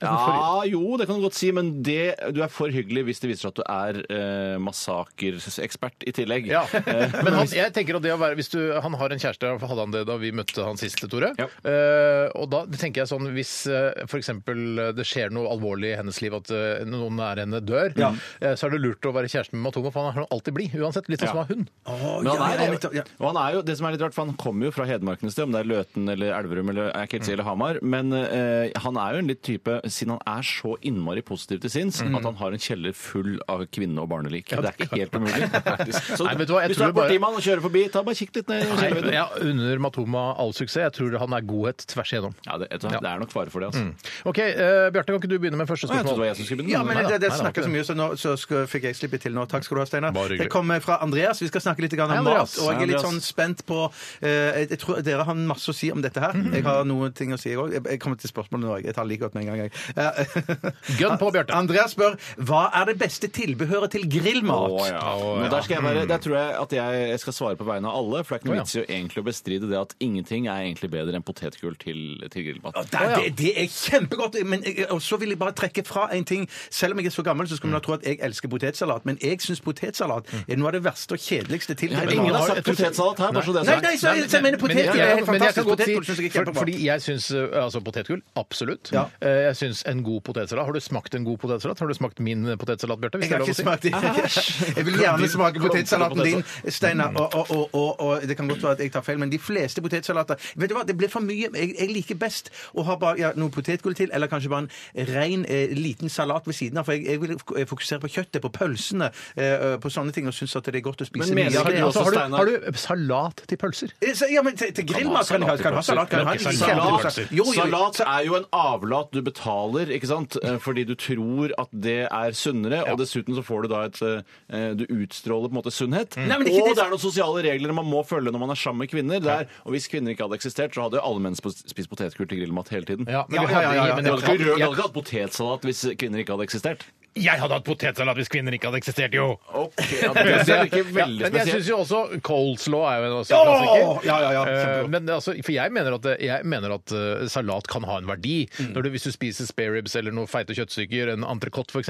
Ja, jo, det kan du godt si, men det, du er for hyggelig hvis det viser seg at du er eh, massakreekspert i tillegg. Ja. Eh, Men han, jeg tenker at det å være, hvis du, han har en kjæreste, hadde han det da vi møtte han siste, Tore. Ja. Eh, og da tenker jeg sånn, hvis eh, for eksempel eh, det skjer noe alvorlig i hennes liv, at eh, noen nær henne dør, eh, så er det lurt å være kjæresten med Matoma, for han er alltid blid, uansett. Litt sånn Ja. som han har hund. Å, Men ja, han ja, er, nettopp, ja. og han er jo, det som er litt rart, for han kommer jo fra Hedmarken et sted, om det er Løten eller Elverum eller jeg er ikke helt sikker, eller Hamar, men eh, han er jo en litt type, siden han er så innmari positiv til sinns, at han har en kjeller full av kvinne- og barnelik. det er ikke helt umulig. Så Nei, vet du hva, jeg hvis du tror er bare- politimann og kjører forbi, ta bare kikk litt ned. i kjelleren. Jeg unner Matoma all suksess. Jeg tror han er godhet tvers igjennom. Ja, det, vet du hva, det er nok fare for det, altså. OK, eh, Bjarte, kan ikke du begynne med første Å, Jeg trodde det spørsmål? var jeg som skulle begynne. Ja, men Nei da, det, det nei da, snakker ikke så mye, så nå så skal, fikk jeg slippe til nå. Takk skal du ha, Steinar. Bare hyggelig. Det kommer fra Andreas. Vi skal snakke litt grann Hei, om Andreas. mat. Og jeg Hei, er litt Andreas. sånn spent på eh, jeg, jeg tror Dere har masse å si om dette her. Jeg har noen ting å si, jeg òg. Jeg, jeg kommer til spørsmålet nå. jeg. Jeg tar like godt med en gang, jeg. Eh, Gønn på, Bjarte. Andreas spør hva er det beste tilbehøret til grillmat? Å, ja. Å, ja. Men der, skal jeg være, der tror jeg at jeg, jeg skal svare på vegne av alle, for det er ikke Å, ja. noe vits i å egentlig å bestride det at ingenting er egentlig bedre enn potetgull til, til grillmat. Og Det, det, det er kjempegodt. Men jeg, og så vil jeg bare trekke fra en ting. Selv om jeg er så gammel, så skal Mm. man da tro at jeg elsker potetsalat. Men jeg syns potetsalat er noe av det verste og kjedeligste til Ja, grillmat. ingen har har- sagt jeg tror- potetsalat her, bare så det Nei, er nei, sagt. så, så jeg mener Men jeg, potetgull jeg, men er helt jeg kan fantastisk. godt Potetgull synes si, jeg er for, kjempebra. fordi jeg syns eh, altså potetgull, absolutt. Ja. Eh, Jeg syns en god potetsalat. Har du smakt en god potetsalat? Har du smakt min potetsalat, Bjarte? hvis Jeg har det er lov ikke å si? smakt det. Jeg vil gjerne smake potetsalaten din, Steinar. Mm. Og, og, og, og, og det kan godt være at jeg tar feil, men de fleste potetsalater Vet du hva, det blir for mye. Jeg, jeg liker best å ha bare ja, noe potetgull til, eller kanskje bare en ren eh, liten salat ved siden av. For jeg, jeg vil fok- fokusere på kjøttet, på pølsene, eh, på sånne ting, og syns at det er godt å spise Men mener mye av du det. også, Altså, har, du, Steinar. har du salat til pølser? Eh, så- Ja, men til, til grillmat kan jeg ha kan jeg ha salat. Kan jeg ha en Ikke liten salat. salat. Jo, jo, jo. Salat er jo en avlat du betaler, ikke sant? Eh, Fordi du tror at det er sunnere, og dessuten så får du da et eh, Du utstråler på en måte sunnhet. Mm. Nei, men Og ikke det- det er noen sosiale regler man må følge når man er sammen med kvinner. Der. Og hvis kvinner ikke hadde eksistert, så hadde jo alle menn sp- spist potetgull til grillmat hele tiden. Ja, men Ja, vi ja, hadde, ja, ja. men Du jeg, hadde ikke jeg, rørt- du hadde ikke hatt potetsalat hvis kvinner ikke hadde eksistert. jeg hadde hatt potetsalat hvis kvinner ikke hadde eksistert, jo! ja, det er ikke Ja, veldig men jeg spesielt. syns jo også coleslaw er jo en også Ja, klassiker. ja, ja, ja, Eh, kjempebra. men det er altså, for jeg mener at, det- jeg mener at eh, salat kan ha en verdi. Når du, hvis du spiser spareribs eller noen feite kjøttstykker, en entrecôte f.eks.,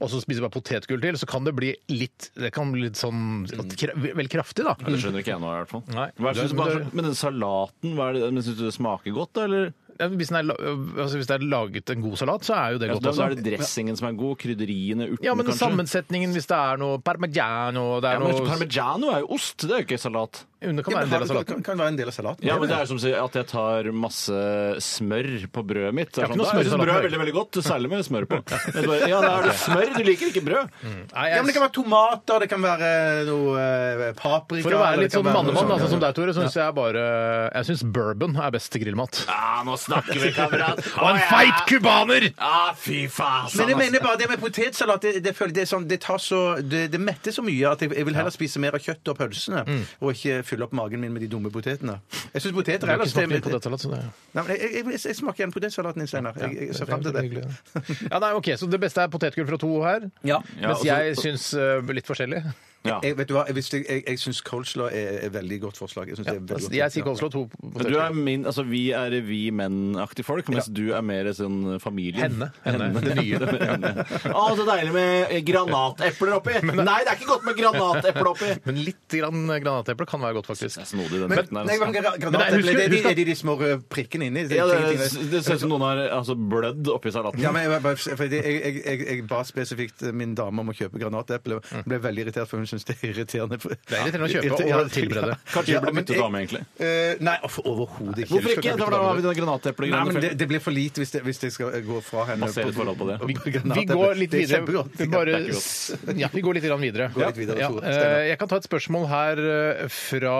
og så spiser du bare potetgull til, så kan det bli litt Det kan bli litt sånn at kra- vel kraftig, da. Det skjønner ikke jeg nå, i hvert fall. Nei. Hva synes du Men bare, det- men den salaten, hva er det, men synes du det smaker godt, da? Eller? Ja, Hvis den er, la- altså, hvis det er laget en god salat, så er jo det Ja, godt da er det også. dressingen som er god, krydderiene, urtene Ja, men kanskje? sammensetningen, hvis det er noe parmigiano det er Ja, men noe... Parmigiano er jo ost, det er jo ikke salat. Jo, Det kan være en del av salaten. Kan, kan være en del av salaten. Ja, men Det er som å si at jeg tar masse smør på brødet mitt. Det Jeg har ikke noe jeg smør i synes brød er salaten, veldig veldig godt, særlig med smør på. Jeg bare, Ja, da er det smør. Du liker ikke brød. Nei, Ja, men Det jeg, kan være tomater, det kan være noe eh, paprika for å være litt eller det sånn kan noe mannemann, sånt. altså, som deg, Tore, syns jeg bare Jeg syns bourbon er best til grillmat. Ja, nå snakker vi, kamerat. Og en feit kubaner! Ja, fy faen. altså. Men jeg mener bare det med potetsalat det, det, føler- det, er sånn, det, tar så, det, det metter så mye at jeg, jeg vil heller spise mer av kjøttet og pølsene Mm. og ikke fylle opp magen min med de dumme potetene. Jeg syns poteter Jeg har ellers ikke smakt det, mye potetsalat, så det Nei, men jeg, jeg, jeg, jeg smaker igjen potetsalaten din, Steinar. Jeg, jeg ser fram til det. Hyggelig, ja. ja, nei, ok, Så det beste er potetgull fra to her? Ja, Mens altså- jeg syns eh, litt forskjellig. Ja. Jeg, vet du hva, jeg, visste- jeg, jeg syns coleslaw er et veldig godt forslag. Jeg, synes det er veldig Altså, godt. Jeg sier coleslaw, to Men Du er potetgull. min, altså Vi er vi menn-aktige folk, mens du er mer sånn familien. Henne. Henne. Det nye. Henne. Å, så deilig med granatepler oppi! Nei, det er ikke godt med granateple oppi! Men litt grann granateple kan være godt, Det faktisk. er snodig, den Men, retten nei, men her. altså. granateple, Men nei, husker- det er, de, husker- er de de små røde prikkene inni? Det, Ja, er det, ting- ting- det ser ut som noen har altså, blødd oppi salaten. Ja, men jeg, bare- for det- jeg, jeg, jeg, jeg ba spesifikt eh, min dame om å kjøpe granateple. Hun ble veldig irritert, for hun syns det er irriterende. Det er irriterende å kjøpe og tilberede. Kanskje du burde bytte dame, egentlig. Eh, nei, for overhodet ikke. Hvorfor ikke? Da har vi denne Nei, men granateplegreiene. det, det blir for lite hvis, det, hvis jeg skal eh, gå fra henne. Basere et forhold på det. Vi, Vi går litt Det er videre. kjempegodt. Bare, Det er ikke s- ja, vi går litt grann videre. Gå litt videre, Ja, Tore. eh, Steinar. Jeg kan ta et spørsmål her eh, fra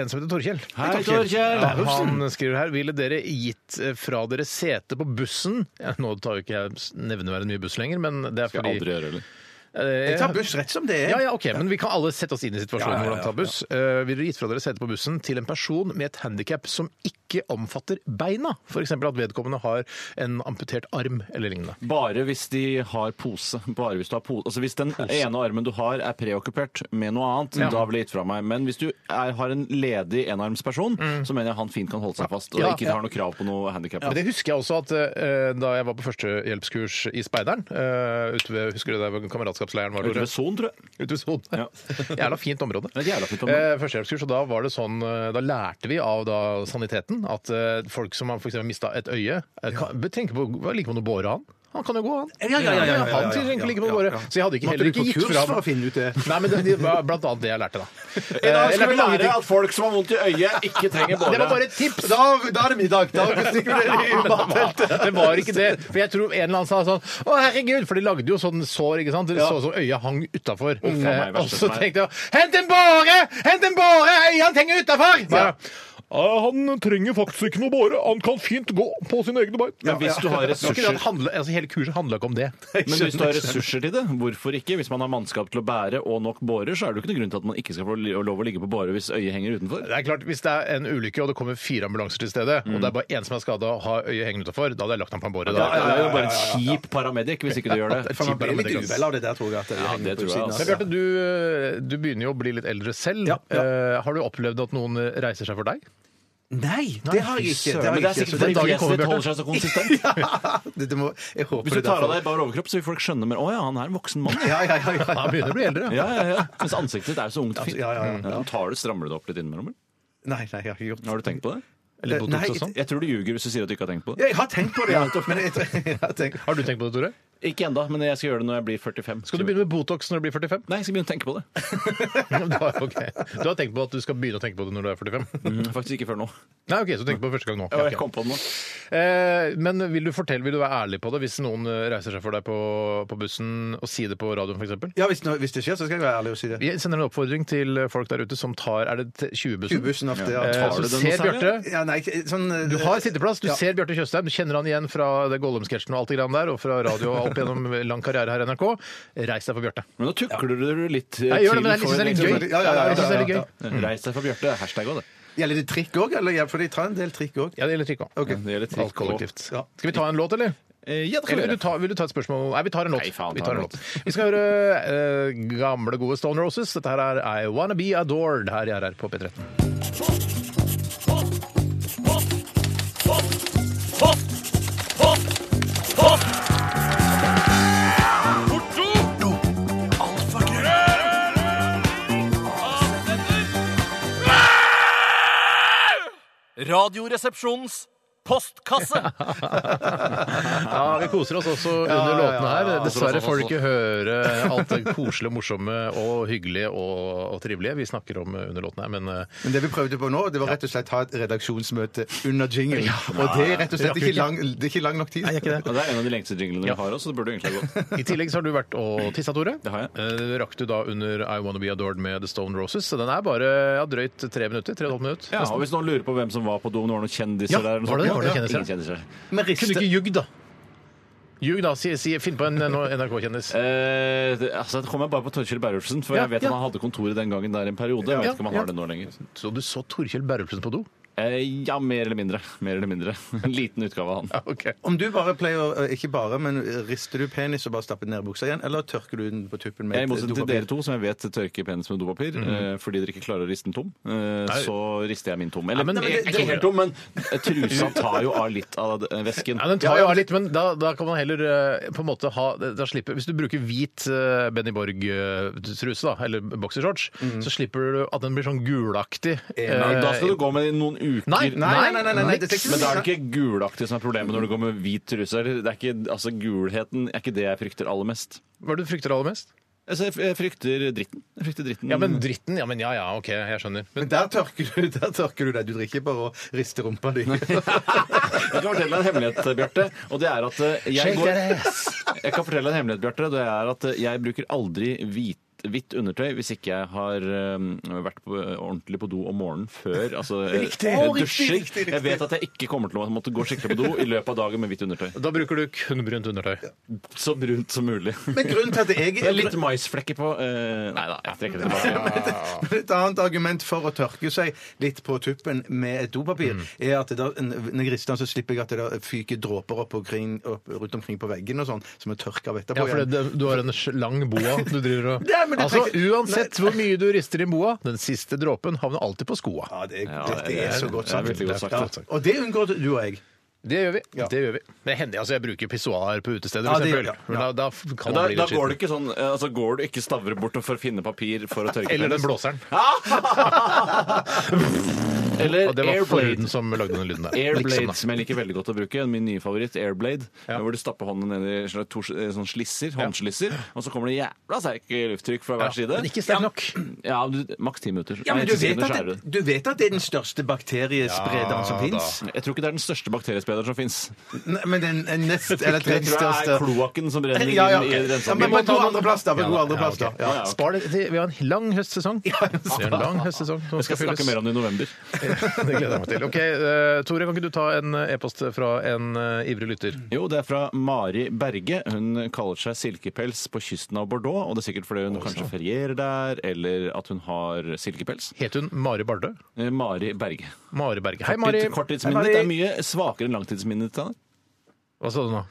en som heter Torkjell. Hei, Torkjell. Ja, Han skriver her Ville dere gitt eh, fra dere sete på bussen ja, Nå tar jo ikke jeg s- nevneverdig mye buss lenger, men det er Skal fordi jeg aldri gjøre heller. Eh, Jeg tar buss rett som det er. Ja, ja, ok, men vi kan alle sette oss inn i situasjonen hvor man tar buss. Eh, Vil dere gitt fra dere sete på bussen til en person med et handikap som ikke omfatter beina? F.eks. at vedkommende har en amputert arm eller lignende. Bare hvis de har pose. Bare hvis, du har po altså, hvis den ene armen du har, er preokkupert med noe annet, da vil jeg gitt fra meg. Men hvis du er, har en ledig enarmsperson, så mener jeg han fint kan holde seg fast og Ja, ikke ja. har noe krav på noe handikap. Men det husker jeg også at eh, da jeg var på førstehjelpskurs i Speideren eh, ute ved, Husker du der hvor kameratskapsleiren var? Ute Tore? ved Son, tror jeg. Ute ved Son. Ja. Jævla fint område. Det er et jævla fint område. Eh, førstehjelpskurs, og da var det sånn eh, Da lærte vi av da, saniteten at eh, folk som har f.eks. mista et øye eh, kan, Tenk på hva ligger på noe båre, han. Han kan jo gå, han. Ja, ja, ja, ja, ja, ja, Han trenger ikke ligge på ja, båre. ja. Så jeg hadde ikke Måtte heller du ikke på gitt kurs fra for å finne ut det? Nei, men det, det var blant annet det jeg lærte, da. I Eh, dag jeg skal vi lærte mange lære ting. at folk som har vondt i øyet, ikke trenger båre. Det var bare et tips! Da, da er det middag. Da stikker du det i matteltet. Det var ikke det. For jeg tror en eller annen sa sånn Å, herregud! For de lagde jo sånn sår, ikke sant? Det så ut som øyet hang utafor. meg, verste Og så som er. tenkte jeg Hent en båre! Hent en båre! Øyet henger utafor! Han trenger faktisk ikke noe båre. Han kan fint gå på sine egne bein. Men hvis du har ressurser altså, hele kurset handla ikke om det. men hvis du har ressurser til det, hvorfor ikke? Hvis man har mannskap til å bære og nok bårer, så er det jo ikke noen grunn til at man ikke skal få li- lov å ligge på båre hvis øyet henger utenfor. Det er klart, Hvis det er en ulykke og det kommer fire ambulanser til stedet, og det er bare én som er skada og har øyet hengende utafor, da hadde jeg lagt ham på en båre. Det Da. er jo bare en kjip paramedic hvis ikke du gjør det. Man blir litt uvel av det der, tror jeg. At det Ja, henger det på tror jeg, siden av. altså. Men Bjarte, du, du begynner jo å bli litt eldre selv. Ja, ja. Eh, har du opplevd at noen reiser seg for deg? Nei, det har jeg ikke. Det Men har det er jeg ikke. sikkert Så fordi den dagen fjeset kommer, ditt holder seg så konsistent. Bjarte. Det- det må- Jeg håper Hvis du det tar av derfor- deg bare overkropp, så vil folk skjønne mer Å ja, han er en voksen mann. Ja, ja, ja, ja. Han begynner å bli eldre. Ja, ja, ja. Mens ansiktet ditt er jo så ungt og fint. Altså, Ja, ja, ja. Mm. Ja, Tar du, strammer du det opp litt innimellom? eller? Nei, nei, jeg har ikke gjort det. Har du tenkt på det? Eller Botox Nei, og sånn. Jeg tror du ljuger hvis du sier at du ikke har tenkt på det. Ja, jeg har tenkt på det, ja. Men jeg, jeg har tenkt Har du tenkt på det, Tore? Ikke ennå, men jeg skal gjøre det når jeg blir 45. Skal du begynne med Botox når du blir 45? Nei, jeg skal begynne å tenke på det. Du har, ok. du har tenkt på at du skal begynne å tenke på det når du er 45? Faktisk ikke før nå. Nei, ok, så du tenker på det første gang nå. Ja, Mm. Ok. Jeg kom på det nå. Eh, men vil du fortelle, vil du være ærlig på det hvis noen eh, reiser seg for deg på, på bussen og sier det på radioen f.eks.? Ja, hvis, nå- hvis det skjer, så skal jeg være ærlig og si det. Vi sender en oppfordring til folk der ute som tar Er det 20-bussen? Kubussen ofte, ja. Eh, Tar så du ser det? noe særlig? Bjarte Ja, nei, ikke- sånn eh, Du har sitteplass. Du Ja. ser Bjarte Tjøstheim. Du kjenner han igjen fra det Gollum-sketsjen og alt det grann der, og fra radio og opp gjennom lang karriere her i NRK. Reis deg for Bjarte. Men nå tukler du litt eh, Jeg gjør det, men jeg til synes det er litt for- gøy. Ja, ja, ja, Jeg synes det er litt ja, ja, gøy. Mm. Mm. Reis deg for Bjarte. Hashtag òg, det. Gjelder det trikk òg, eller? Ja, For de tar en del trikk òg. Ja, det gjelder trikk òg. Det gjelder trikk Alt kollektivt. Ja. Skal vi ta en låt, eller? Eh, Ja, det kan vi Eller vil du, gjøre. ta, vil du ta et spørsmål? Nei, vi tar en låt. Nei, faen, vi, ta tar en en låt. vi skal høre eh, gamle, gode Stone Roses. Dette her er I Wanna Be Adored her i RR på P13. Radioresepsjonens postkasse! Ja, vi koser oss også under Ja, ja, ja, låtene her. ja, ja. Dessverre får Koser oss, du ikke høre alt det koselige, morsomme og hyggelige og, og trivelige vi snakker om under låtene her, men eh, Men det vi prøvde på nå, det var rett og slett ha et redaksjonsmøte under jingle. Og det er rett og slett ikke lang, det er ikke lang nok tid. det er ikke det. Ja, det er en av de lengste jinglene vi har også, så det burde egentlig ha gått. I tillegg så har du vært og tissa, Tore. Det har jeg. Eh, Rakk du da under I Wanna Be Adored med The Stone Roses? Så den er bare ja, drøyt tre minutter. Tre og et halvt minutt. Ja, og hvis noen lurer på hvem som var på do, om det var noen kjendiser Ja, der eller noe var det- sånt. var det kjendiser? Ingen kjendiser. Kunne Men du riste ikke ljugd, da? Ljug, da. Si, si, finn på en NRK-kjendis. Eh, det, altså, det kom jeg bare på Torkjell Berulfsen, for Ja, jeg vet ja. han hadde kontoret den gangen der en periode. Jeg Ja, vet ikke om han ja. har det nå lenger. Så du så Torkjell Berrupsen på do? Eh, ja, mer eller mindre. Mer eller mindre. En liten utgave av han. Ja, ok. Om du bare pleier, å- eh, ikke bare, men rister du penis og bare stapper den ned i buksa igjen, eller tørker du den på tuppen med Jeg, I motsetning til dopapir? dere to, som jeg vet tørker penis med dopapir, Mm. eh, fordi dere ikke klarer å riste den tom, eh, så rister jeg min tom. Eller Nei, men- eh, ikke helt tom, men trusa tar jo av litt av eh, væsken. Ja, den tar jo av litt, men da, da kan man heller eh, på en måte ha da slipper, Hvis du bruker hvit eh, Benny Borg-truse, da, eller boksershorts, så slipper du at den blir sånn gulaktig. Men eh, Da skal du gå med det i noen uker. Nei, nei, Nei, nei, nei, nei, nei, det er ikke- Men da er det ikke gulaktig som er problemet når du går med hvit truse. eller? Det er ikke, altså, gulheten er ikke det jeg frykter aller mest. Hva er det du frykter aller mest? Mm. Altså, jeg- jeg frykter dritten. Jeg frykter dritten. Ja, men dritten. Ja, men ja ja, OK, jeg skjønner. Men Men der tørker, du, der tørker du deg. Du drikker ikke bare og rister rumpa di. Jeg kan fortelle deg en hemmelighet, Bjarte. Og det er at eh, jeg Shake går that Jeg kan fortelle deg en hemmelighet, Bjarte. og Det er at eh, jeg bruker aldri hvit Hvitt undertøy hvis ikke jeg har eh, vært på, ordentlig på do om morgenen før. Altså, eh, Riktig. jeg Å, riktig, dusjer. riktig, riktig. Jeg vet at jeg ikke kommer til å måtte gå skikkelig på do i løpet av dagen med hvitt undertøy. da bruker du kun brunt undertøy. Så brunt som mulig. Men grunnen til at jeg Det er litt maisflekker på eh, Nei da, jeg trekker det tilbake. Et annet argument for å tørke seg litt på tuppen med et dopapir, Mm. er at det da, når jeg rister den, så slipper jeg at det da fyker dråper opp omkring, opp, rundt omkring på veggen og sånn, som jeg tørker av Ja, etterpå. for det, det- du har en sj- lang boa du driver og Nei, men det Altså, trenger- uansett hvor mye du rister i boa, den siste dråpen havner alltid på skoa. Ja, det, er- Ja, det, det er så godt det er sagt. veldig godt sagt. Ja, og det unngår du og jeg. Det gjør vi. Ja. det gjør vi. Det hender altså jeg bruker pissoar på utesteder, Ja, for det gjør- eksempel. ja. Men da, da f- kan Da, man bli da litt går du skitten. ikke sånn eh, altså går du ikke stavre bort for å finne papir for å tørke Eller den penis. blåseren. Eller Og det var Airblade. fløyten som lagde den lyden der. Airblade, Liksom, da. som jeg liker veldig godt å bruke. Min nye favoritt, Airblade. Hvor du stapper hånden ned i sånne, to, sånn slisser, håndslisser, og så kommer det jævla sterk lufttrykk fra hver side. Men ikke sterk nok. Ja, du, maks ti minutter. Ja, Nei, men du ti vet, sekunder at skjærer det, du. du vet at det er den største bakteriesprederen som fins? Jeg tror ikke det er den største bakteriesprederen som fins. Men den er nest eller Det tror jeg tredje største er kloakken som brenner Ja, ja. inn i ja renseanlegget. men på god andreplass, da. På god andreplass, da. Ja. Ja, ok. Spar det til Vi har en lang høstsesong. Vi har en lang høstsesong som Jeg skal skal fylles. snakke mer om det i november. Det gleder jeg meg til. Ok, eh, Tore, kan ikke du ta en eh, e-post fra en eh, ivrig lytter? Jo, det er fra Mari Berge. Hun kaller seg Silkepels på kysten av Bordeaux. Og det er sikkert fordi hun kanskje ferierer der, eller at hun har silkepels. Het hun Mari Bardø? Eh, Mari Berge. Mari Berge. Hei, Mari. Litt Korttidsminnet er mye svakere enn langtidsminnet. Tanne. Hva sa du nå?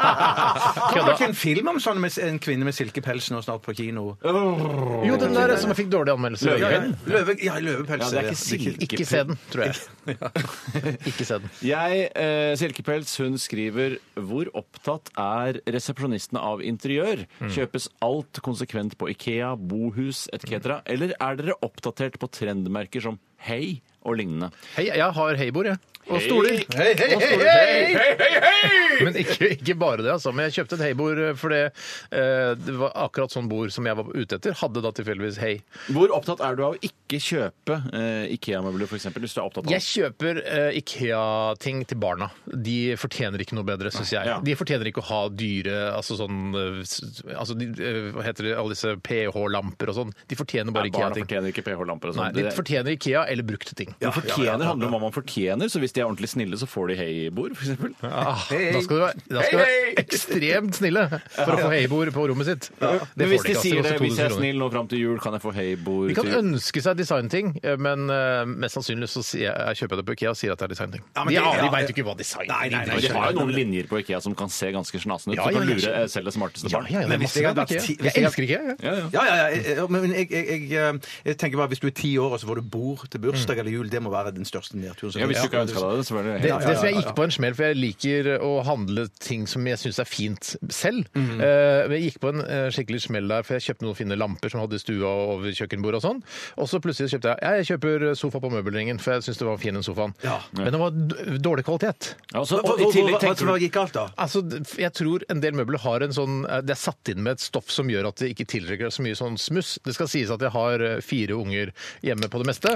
Kommer det ikke en film om sånn med en kvinne med silkepels nå snart på kino? Jo, den der som fikk dårlig anmeldelse. Ja, ja. Løve, ja, løvepels. Ja, det er ikke silke. Ikke se den, tror jeg. Ikke se den. Jeg, eh, Silkepels, hun skriver Hvor opptatt er resepsjonistene av interiør? Mm. Kjøpes alt konsekvent på Ikea, bohus etc.? Eller er dere oppdatert på trendmerker som Hei og lignende? Hei, jeg har heibord, jeg. Og stoler. Hei, hei, Og hei, stoler. hei! Men ikke, ikke bare det, altså. Men jeg kjøpte et heibord fordi eh, det var akkurat sånn bord som jeg var ute etter. Hadde da tilfeldigvis hei. Hvor opptatt er du av å ikke kjøpe eh, Ikea-møbler, f.eks.? Hvis du er opptatt av Jeg kjøper eh, Ikea-ting til barna. De fortjener ikke noe bedre, syns jeg. ja. De fortjener ikke å ha dyre altså sånn eh, s- altså de, eh, Hva heter det, alle disse pH-lamper og sånn. De fortjener bare Nei, Barna Ikea-ting. fortjener ikke pH-lamper og Nei, sånn. De Det- fortjener Ikea eller brukte ting. Men fortjener handler om hva man fortjener, så hvis de er ordentlig snille, så får de hei-bord, f.eks. Ah, da skal du være, da skal du være ekstremt snille for å få heibord på rommet sitt. Men hvis de altså. sier det, koster hvis jeg er 2000 kroner. snill nå fram til jul, kan jeg få heibord De kan til jul? ønske seg designting, eh, men eh, mest sannsynlig så sier jeg, jeg kjøper jeg det på IKEA og sier at det er designting. men de det- aner- de ja, vet det- jo ikke hva design Nei, nei, nei, Men de har jo skjønner. noen linjer på Ikea som kan se ganske snasen ut. Ja, så ja, du kan ja, lure skjønner. eh, selv det smarteste Ja, barn. ja, det er Men hvis masse jeg hadde bra på vært IKEA. ti- hvis Jeg jeg- elsker IKEA, jeg. Ja, ja. eh, Ja, ja, ja. jeg- jeg- Men jeg, jeg, jeg, jeg tenker bare hvis du er ti år og så får du bord til til bursdag eller jul, det må være den største nedturen. som Mm. Ja, hvis finnes. du ikke har ønska deg det, så var det Det, helt det som jeg gikk på en smell, for jeg liker å handle ting som jeg syns er fint selv. Mhm. Eh, men jeg gikk på en eh, skikkelig smell der, for jeg kjøpte noen fine lamper som hadde i stua og over kjøkkenbordet og sånn. Og så plutselig kjøpte jeg ja, jeg kjøper sofa på møbelringen, for jeg syns det var fin den sofaen. Ja. Men den var d- dårlig kvalitet. Ja, og så- Hva, og hva, i tillegg hva, hva, tenker hva du gikk galt, da? Altså, d- jeg tror en del møbler har en sånn eh, Det er satt inn med et stoff som gjør at det ikke tiltrekker så mye sånn smuss. Det skal sies at jeg har eh, fire unger hjemme på det meste.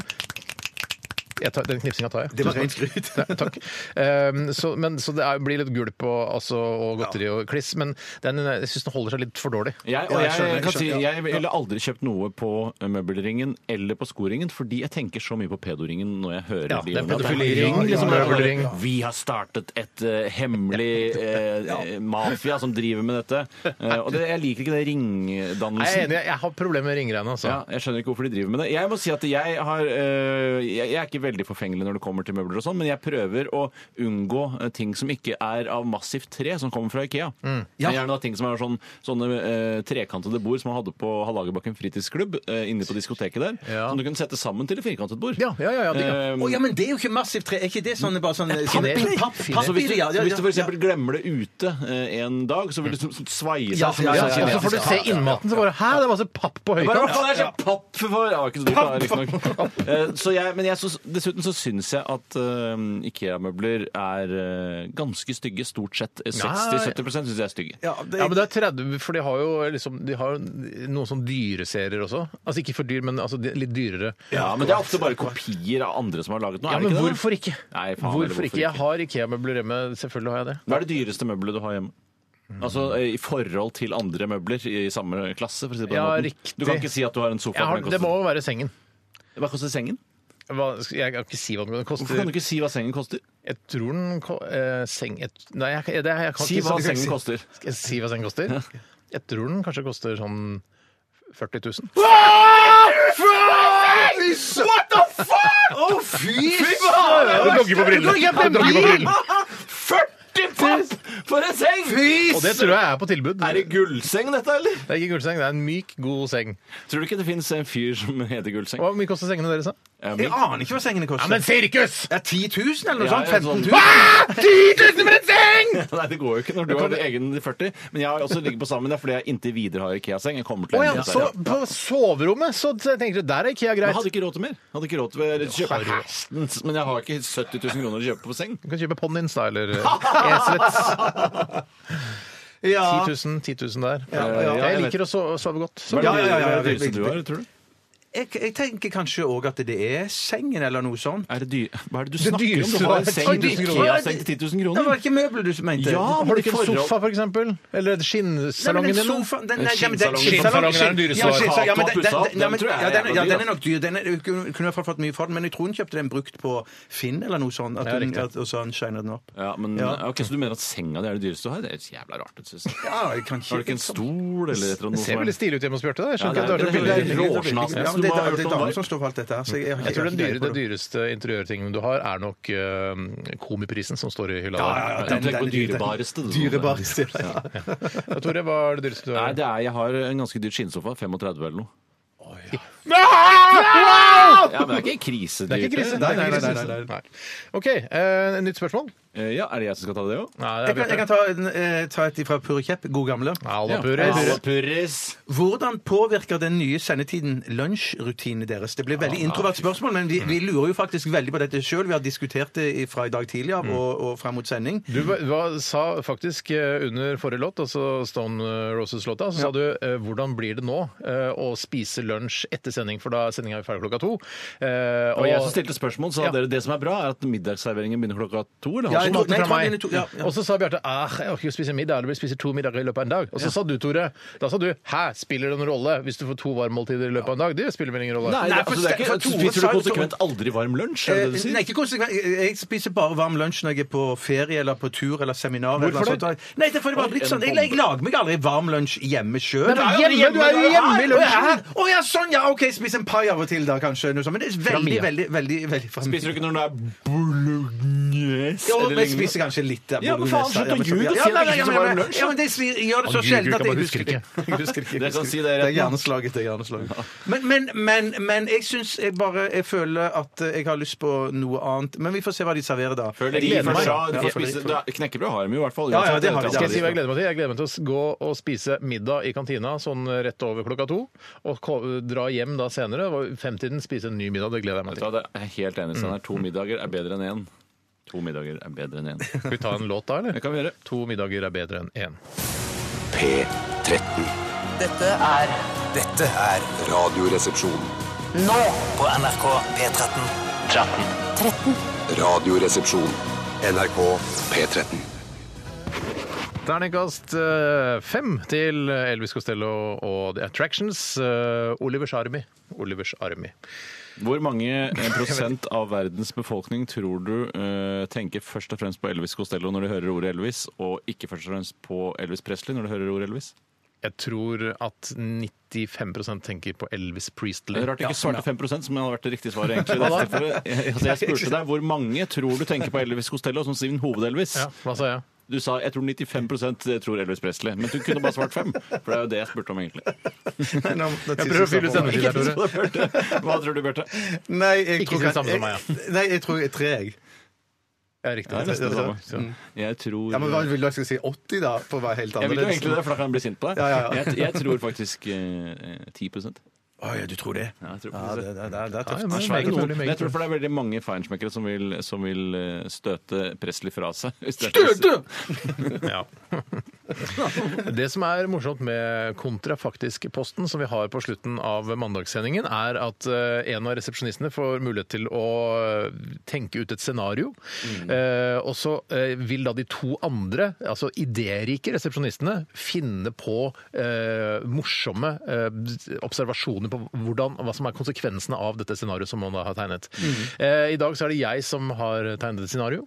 Jeg tar, den knipsinga tar jeg. Det var rent skryt. Nei, takk. Ehm, så, men, så det er, blir litt gulp og, altså, og godteri og kliss, men den, jeg syns den holder seg litt for dårlig. Jeg, Ja, og jeg jeg, skjønner, jeg kan si, skjønner, ja. jeg ville aldri kjøpt noe på møbelringen eller på skoringen, fordi jeg tenker så mye på pedoringen når jeg hører Ja, de det er ordene. At pedofiliring, det er- liksom, Ja, ja, ja. møbelring. Vi har startet et eh, hemmelig eh, mafia som driver med dette. Eh, og det, jeg liker ikke det ringdannelsen. Jeg er enig, jeg har problemer med ringreiene, altså. Ja, jeg skjønner ikke hvorfor de driver med det. Jeg må si at jeg har øh, Jeg jeg er ikke veldig forfengelig når det kommer til møbler og sånn, men jeg prøver å unngå øh, ting som ikke er av massivt tre, som kommer fra Ikea. Mm. Men Gjerne da ting som er sånn, sånne øh, trekantede bord som man hadde på Hallagerbakken fritidsklubb øh, inne på diskoteket der, Ja. som du kunne sette sammen til et firkantet bord. Ja, ja, ja, ja, det- Eh, Å ja, men det er jo ikke massivt tre. Er ikke det sånn bare sånn papp- papp- papp- så hvis du, ja, ja, ja. hvis du f.eks. glemmer det ute øh, en dag, så vil det så- så svaie seg. Ja, som ja, en ja, sånn ja, Og ja. så får du se innmaten, så bare Hæ, det var masse papp på Bare, hva høykant! faen, det er så papp for ja, det var ikke så dyrt, da, riktignok. Eh, Så jeg, men jeg, syns- dessuten så syns jeg at eh, Ikea-møbler er eh, ganske stygge. Stort sett Eh, 60-70 syns jeg er stygge. Ja, det, Ja, men det er 30, for de har jo liksom De har jo noen sånne dyreserier også. Altså ikke for dyr, men altså, de- litt dyrere. Ja, Men det er ofte bare kopier av andre som har laget noe. Ja, er det men ikke det? hvorfor ikke? Nei, faen, eller Hvorfor ikke? Jeg har Ikea-møbler hjemme, selvfølgelig har jeg det. Hva er det dyreste møbelet du har hjemme? Mm. Altså eh, I forhold til andre møbler i samme klasse? For å si det på den Ja, måten. riktig. Du kan ikke si at du har en sofa Jeg har som det må koster jo være sengen. Hva koster sengen? Hva, jeg kan ikke si hva den Hvorfor koster. kan du ikke si hva sengen koster? Jeg tror den ko- eh, seng... Jeg, nei, jeg, det, jeg kan Si ikke hva si- sengen koster. Skal jeg si hva den koster? Jeg tror den kanskje koster sånn 40 000. What the fuck?! Å, fy Du dogger på brillene! Du dogger på brillene. 40 papp for en seng! Og det tror jeg er på tilbud. Er det gullseng, dette, eller? Det er ikke gullseng, det er en myk, god seng. Tror du ikke det finnes en fyr som heter Gullseng? Hvor mye koster sengene deres, da? Ja, Jeg men- aner ikke hva sengene koster. sirkus! Ja, 10 000 eller noe Ja, sånt? ja, 15 000? Ah, 10 000 for en seng! Nei, det går jo ikke når du har din egen 40. Men jeg har også ligget på sammen, det er fordi jeg inntil videre har Ikea-seng. Jeg kommer til Å å ja, ende så der, ja. på soverommet så tenker du der er Ikea Men greit. hadde ikke råd til mer. Hadde ikke råd til å kjøpe Har du- hestens, men jeg har ikke 70 000 kroner å kjøpe på seng. Du kan kjøpe ponnien, da, eller eh, eselets. Ja. 10 000, 10 000 der. ja, jeg Jeg vet. liker å so- sove godt. Hva Så er det Ja, ja, ja, ja, hva er det riktig, dyreste du har, tror du? Jeg, jeg tenker kanskje òg at det er sengen eller noe sånt. Er det dyr... Hva er det du Det snakker om? dyreste Du har en var seng, 10 000 du kroner. Ikea-seng til 10 000 Det var kroner. ikke møbler du mente? Ja, Nei, har du ikke en forhold- sofa, for eksempel? Eller men skinnsalongen din? den da? sofaen den- nei, Skinnsalongen. men den- Skinnsalongen er den dyreste Ja, du har. skinnsalongen, ja, men Hatt og den- den- pusset opp, ja, men den tror jeg ja, er den- ja, jævla den er nok dyr. Den er, du kunne kunne i hvert fall fått mye for den, men jeg tror hun kjøpte den brukt på Finn eller noe sånt. At Ja, hun, riktig. at, og så han shiner den opp. Ja, men, Ja. ok, så du mener at senga di er det dyreste du har? Det er så jævla rart. Synes jeg. Ja, jeg kan Har du ikke en stol eller et eller annet? Det ser veldig stilig ut hjemme hos Bjarte. da. Jeg Ja, skjønner det er- ikke at det det er har vært så billig. veldig råsnas. Ja, men det, er- det er damer som står for alt dette. her, Så jeg, har ikke- Jeg tror har den ikke dyre, greie på det dyreste interiørtingen du har, er nok eh, komiprisen som står i hylla. ja, der. ja, Du tenker på Den- den- dyrebareste. du. Dyrebareste. Ja, Tore, hva er det dyreste du Nei, har? det er, jeg har en ganske dyr skinnsofa. 35 eller noe. Ja, men det er ikke krisedyrt. Det er ikke krise. Nei, nei, nei, nei, nei. OK, eh, nytt spørsmål. Eh, Ja, er det jeg som skal ta det òg? Nei, det Jeg kan, jeg kan ta, en, eh, ta et fra Purre Kjepp, god gamle. Alapurres. Hvordan påvirker den nye sendetiden lunsjrutinene deres? Det blir veldig introvert spørsmål, men vi, vi Mm. lurer jo faktisk veldig på dette sjøl. Vi har diskutert det i- fra i dag tidlig Mm. av og, og frem mot sending. Du ba- hva, sa faktisk eh, under forrige låt, altså Stone Roses-låta, så sa du eh, hvordan blir det nå eh, å spise lunsj etter sending, for da er sendinga ferdig klokka to. Eh, Og jeg som stilte spørsmål, sa Ja. dere det som er bra, er at middagsserveringen begynner klokka to? Eller? Ja, halv jeg to? tror- Smakte nei, fra ta meg. dine to- ja, ja. Og så sa Bjarte ah, jeg orker ikke å spise middag, eller jeg spiser to middager i løpet av en dag. Og så sa du, Tore, da sa du hæ, spiller det noen rolle hvis du får to varmmåltider i løpet av en dag? Det spiller vel ingen rolle? Nei, Nei, altså, det er ikke, for Tore spiser du sa- konsekvent aldri varm lunsj? Er det det du Eh, Nei, sier? ikke konsekvent. Jeg spiser bare varm lunsj når jeg er på ferie eller på tur eller seminar. eller Hvorfor noe sånt. Nei, det er fordi det bare blitt sånn. Jeg, jeg lager meg aldri varm lunsj hjemme sjøl. Nei, men hjemme, du er jo hjemme i lunsjen. Å ja, sånn, ja. OK, spis en pai av og til da, kanskje. Noe sånt. Men det er veldig, Mia. veldig, veldig, veldig Spiser du ikke når det er bearnés Jo, eller men jeg lignende. spiser kanskje litt Ja, men faen, slutt å men så- ljuge og si at det ikke ja, men- var ja, men- lunsj, da. Ja, men det svi- gjør det så Han ljuger ikke, sjelden at jeg han bare husker husker det. Jeg husker ikke. jeg Dere kan husker si det det rett er nå. hjerneslaget. det er hjerneslaget. Men, men, men, men jeg syns jeg bare jeg føler at jeg har lyst på noe annet. Men vi får se hva de serverer da. Før de gleder meg. først har- Ja, de ja, for- spiser- da- Knekkebrød har de jo i hvert fall. Ja, ja, det har de. Skal jeg det si hva jeg gleder meg til? Jeg gleder meg til å s- gå og spise middag i kantina sånn rett over klokka to. Og ko- dra hjem da senere. og Femtiden spise en ny middag. Det gleder jeg meg til. Ja, det er jeg helt enig. Steinar. To middager er bedre enn én. To middager er bedre enn én. Skal vi ta en låt da, Det eller? kan vi gjøre. To middager er bedre enn én. P13. Dette er Dette er Radioresepsjon. nå. på NRK P13. Radioresepsjon. NRK P13. Terningkast eh, fem til Elvis Costello og The Attractions. eh, Olivers Army. Olivers Army. Hvor mange eh, prosent av verdens befolkning tror du eh, tenker først og fremst på Elvis Costello når de hører ordet Elvis, og ikke først og fremst på Elvis Presley når de hører ordet Elvis? Jeg tror at 95 tenker på Elvis Det Priestley. er rart du ikke svarte 5 som hadde vært det riktige svaret. egentlig. i Hva da? dette tilfellet. Jeg, altså, jeg spurte deg hvor mange tror du tenker på Elvis Costello som sin hoved-Elvis. Ja, hva sa jeg? Du sa jeg tror 95 tror Elvis Presley, men du kunne bare svart 5. For det er jo det jeg spurte om, egentlig. Nei, nå- nå Jeg prøver å tisser fylle ut på meg. energi der, Tore. Hva tror du, Bjarte? Nei, jeg Ikke tror si det samme som meg, Nei, jeg tror jeg er tre, jeg. Ja, riktig. Det er nesten det Ja, samme. Jeg tror Ja, men hva vil du at jeg skal si? 80, da? For å være helt Jeg vil jo annerledes. egentlig det, for da kan jeg bli sint på deg. Ja, ja, ja. Jeg, jeg tror faktisk eh, 10 ja, Å ja, du tror det? jeg tror Ja, faktisk det, det, det, det er Det ja, men tøft. er meget svære mulig, noen. Men meget Jeg tror mulig. for det er veldig mange feinschmeckere som vil, som vil eh, støte Presley fra seg. Støte! Ja. Det som er morsomt med kontrafaktisk-posten som vi har på slutten av mandagssendingen, er at eh, en av resepsjonistene får mulighet til å eh, tenke ut et scenario. Eh, og så eh, vil da de to andre, altså idérike resepsjonistene, finne på eh, morsomme eh, observasjoner på hvordan, hva som er konsekvensene av dette scenarioet som man da har tegnet. Eh, I dag så er det jeg som har tegnet et scenario.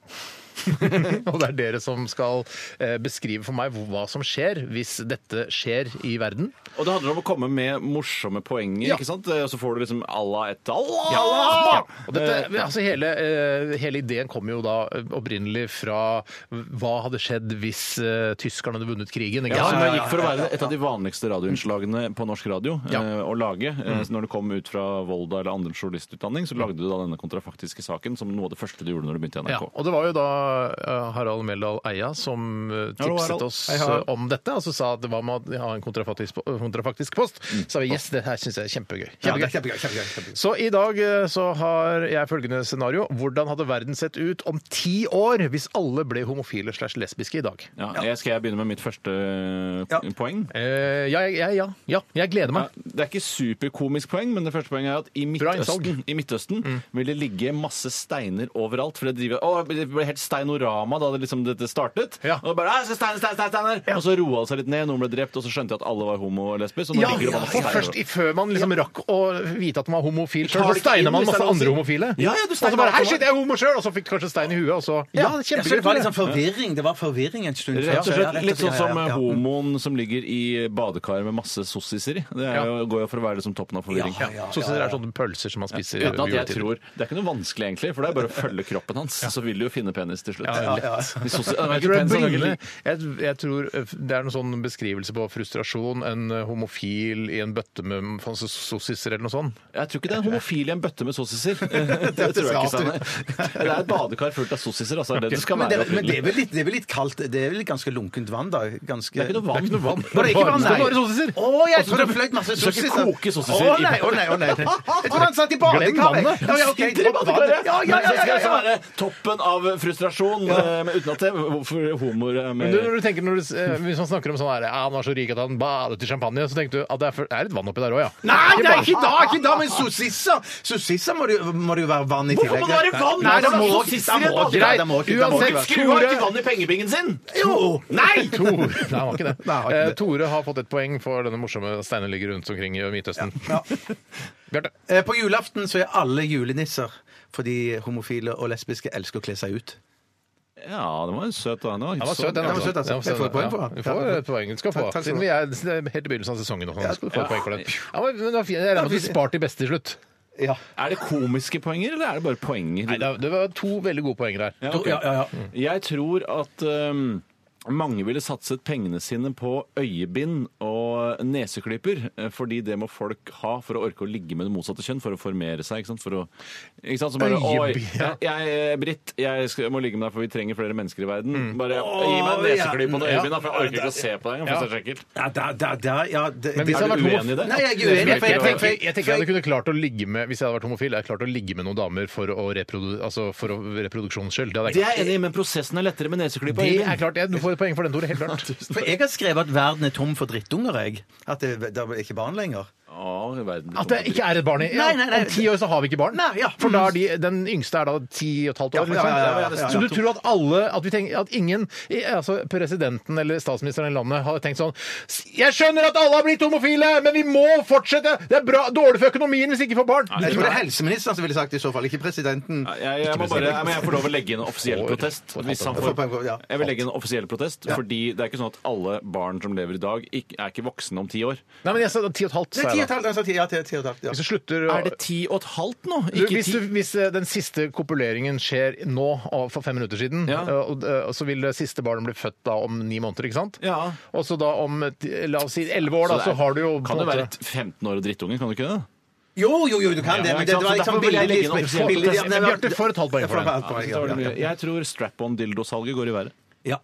og det er dere som skal eh, beskrive for meg hva som skjer hvis dette skjer i verden. Og det handler om å komme med morsomme poenger, Ja. ikke sant? Eh, Og så får du liksom Allah et Allah! Ja. Og dette, altså hele, eh, hele ideen kom jo da eh, opprinnelig fra hva hadde skjedd hvis eh, tyskerne hadde vunnet krigen. Ikke? Ja, sant? men det gikk for å være et av de vanligste radioinnslagene på norsk radio Ja. eh, å lage. Eh, så når du kom ut fra Volda eller andre journalistutdanning, så lagde du da denne kontrafaktiske saken som noe av det første du gjorde når du begynte i Ja, NRK. og det var jo da eh, Harald Meldal Eia som eh, Hallo, tipset Harald. oss Hei, Harald. eh, om dette. Altså sa at det var med å ha en kontrafaktisk, kontrafaktisk post. Så sa vi yes, det her syns jeg er kjempegøy. Kjempegøy, kjempegøy. kjempegøy, kjempegøy. Så i dag eh, så har jeg følgende scenario. Hvordan hadde verden sett ut om ti år hvis alle ble homofile slash lesbiske i dag? Ja, jeg skal jeg begynne med mitt første eh, Ja. poeng? Eh, ja, jeg- jeg- ja, ja. Jeg gleder Ja, meg. det er ikke superkomisk poeng, men det første poenget er at i Bra innsalg. Midtøsten, i Midtøsten vil det ligge masse steiner overalt. For det, driver, å, det ble helt steinorama da det, liksom, dette startet. Ja. Og, det bare, «Æ, se steiner, steiner, steiner, steiner. og så roa det seg litt ned, noen ble drept, og så skjønte jeg at alle var homo og lesbisk. Og nå ligger det bare masse for steiner først i- før man liksom rakk å vite at man var homofil Tar sjøl, så det ikke inn steiner man hvis det er masse lov å andre si. homofile. Ja, ja, du og så steiner bare alt Hei, om shit, jeg er homo sjøl! Og så fikk du kanskje stein i huet, og så Ja, Ja, så kjempegøy. det var Tore. liksom forvirring. Det var forvirring en stund. Rett og Ja, slett rett Litt sånn ja, som ja, ja. homoen som ligger i badekaret med masse sossiser i. Det er Ja. jo, går jo for å være liksom toppen av forvirring. Ja, Ja, Sossiser er sånne pølser som man spiser Uten at jeg juletid. tror, Det er ikke noe vanskelig, egentlig, for det er bare å følge kroppen hans. Så vil du jo finne penis til slutt. Ja, ja, ja. De sosi- det Jeg tror, er jeg, ikke penis, det bringer, er ikke- jeg, jeg tror det er noen sånn beskrivelse på frustrasjon. En eh, homofil i en bøtte med masse sossiser eller noe sånt. Jeg tror ikke det er en homofil i en bøtte med sossiser. Det tror jeg ikke, Steinar. Det er et badekar fullt av sossiser, altså. Det er det det skal Men, det, være. men det, er opprinnelig. vel litt, det er vel litt kaldt Det er vel litt ganske lunkent vann, da? Ganske... Det er ikke noe vann. Var det ikke vann, Det nei? er bare sossiser. Å, jeg tror det fløyt masse skal ikke sossiser. koke sossiser Å i- nei, å nei, å nei. Jeg tror han satt i Glem vannet. badekaret. Ja, ja, ok, dropp vannet. Ja, ja, Men ja, så skal ja, det ja. være toppen av frustrasjon, eh, men uten at det Hvorfor homoer er Men med du, når du tenker, når du, eh, hvis man snakker om sånn her, ja, han var så rik at han badet i champagne, så tenker du at det er, for- det er litt vann oppi der òg, ja. Nei, nei, ikke da, ikke da, men sossisser Sossisser må det jo- må det jo være vann i tillegg. Hvorfor må det være vann? Nei, det Hvorfor må er det ikke sossiser i et det. badekar? Det må ikke det. må Uansett, ikke være- Skru av ikke vann i pengebingen sin! Jo! Nei! Tore, Nei, han var ikke det. Nei, han var ikke det. Eh, Tore har fått et poeng for denne morsomme steinen ligger rundt omkring i Midtøsten. Bjarte. Eh, På julaften så er alle julenisser fordi homofile og lesbiske elsker å kle seg ut. Ja, den var søt, da. Den var, Den var søt, den. Den var altså. søt, Den altså. var søt, Jeg får et poeng for ja. den. Du får et poeng. Du skal få. Takk- takk skal Siden du vi er det er helt i begynnelsen av sesongen. og sånn, så skal du få et poeng for den. Ja, men det var fint. Jeg regner med at du sparte de beste til slutt. Ja. Er det komiske poenger, eller er det bare poenger? Nei, det var to veldig gode poenger her. Ja, ok. Jeg tror at um, mange ville satset pengene sine på øyebind og neseklyper, eh, fordi det må folk ha for å orke å ligge med det motsatte kjønn, for å formere seg. ikke sant? For å, ikke sant? Så bare, Øyebind, Oi, ja. jeg, jeg, Britt, jeg skal, må ligge med deg, for vi trenger flere mennesker i verden. Bare gi meg en neseklyp og et øyebind, da, for jeg orker ikke å se på deg engang. for det er så ekkelt. Ja, da, da, da, ja, det, Men hvis det- jeg hadde vært uenig i det? Nei, jeg er uenig. For jeg, Jeg for tenker, jeg, jeg tenker jeg hadde kunne klart å ligge med Hvis jeg hadde vært homofil, jeg hadde klart å ligge med noen damer for, å reprodu, altså for å, reproduksjonens skyld. Det hadde Det jeg er jeg enig i, men prosessen er lettere med neseklyp og Det er øyebind. klart, jeg, Du får et poeng for den, Tore. Helt klart. for jeg har skrevet at verden er tom for drittunger, jeg. At det, det er ikke barn lenger. Å, verden. At det ikke er et barn i ja, Nei, nei, nei. Om ti år så har vi ikke barn. Nei, ja. For da er de, den yngste er da ti og et halvt år. liksom. Ja, ja, ja, ja, ja, ja. Så du tror at alle at, vi tenker, at ingen, i- altså presidenten eller statsministeren i landet, har tenkt sånn "S- Jeg skjønner at alle har blitt homofile, men vi må fortsette! Det er bra, dårlig for økonomien hvis ikke vi får barn! Jeg tror det er helseministeren som ville sagt det i så fall, ikke presidenten. Nei, Jeg, jeg, må bare, jeg, jeg får lov å legge inn en offisiell Får- protest. får- Hvis han får- får- ja. får, jeg vil legge inn en offisiell protest, fordi det er ikke sånn at alle barn som lever i dag, ikk- er ikke voksne om ti år. Nei, men jeg sa ti og et halvt. Det sa jeg da. er ti og et halvt, altså ti, ja, ti, ti og et halvt. Ja. Hvis du slutter å Er det ti og et halvt nå? du, Ikke hvis, ti? du, hvis eh, den siste kopuleringen skjer nå, og for fem minutter siden, Ja. eh, og, eh, så vil det siste barnet bli født da om ni måneder, ikke sant? Ja. Og så da om eh, ti- la oss si elleve år, da, så, det er- har du jo på Kan en det være måte- et 15 år og drittunge? Kan du ikke det? Jo, jo, jo, du kan det, ikke men sant, det, det var så liksom derfor vil jeg billig legge inn offisiell billig- protest. Nei, men- Bjarte, for et halvt poeng for Ja, den. et poeng, ja, ja. Jeg tror strap-on-dildosalget går i været. Ja,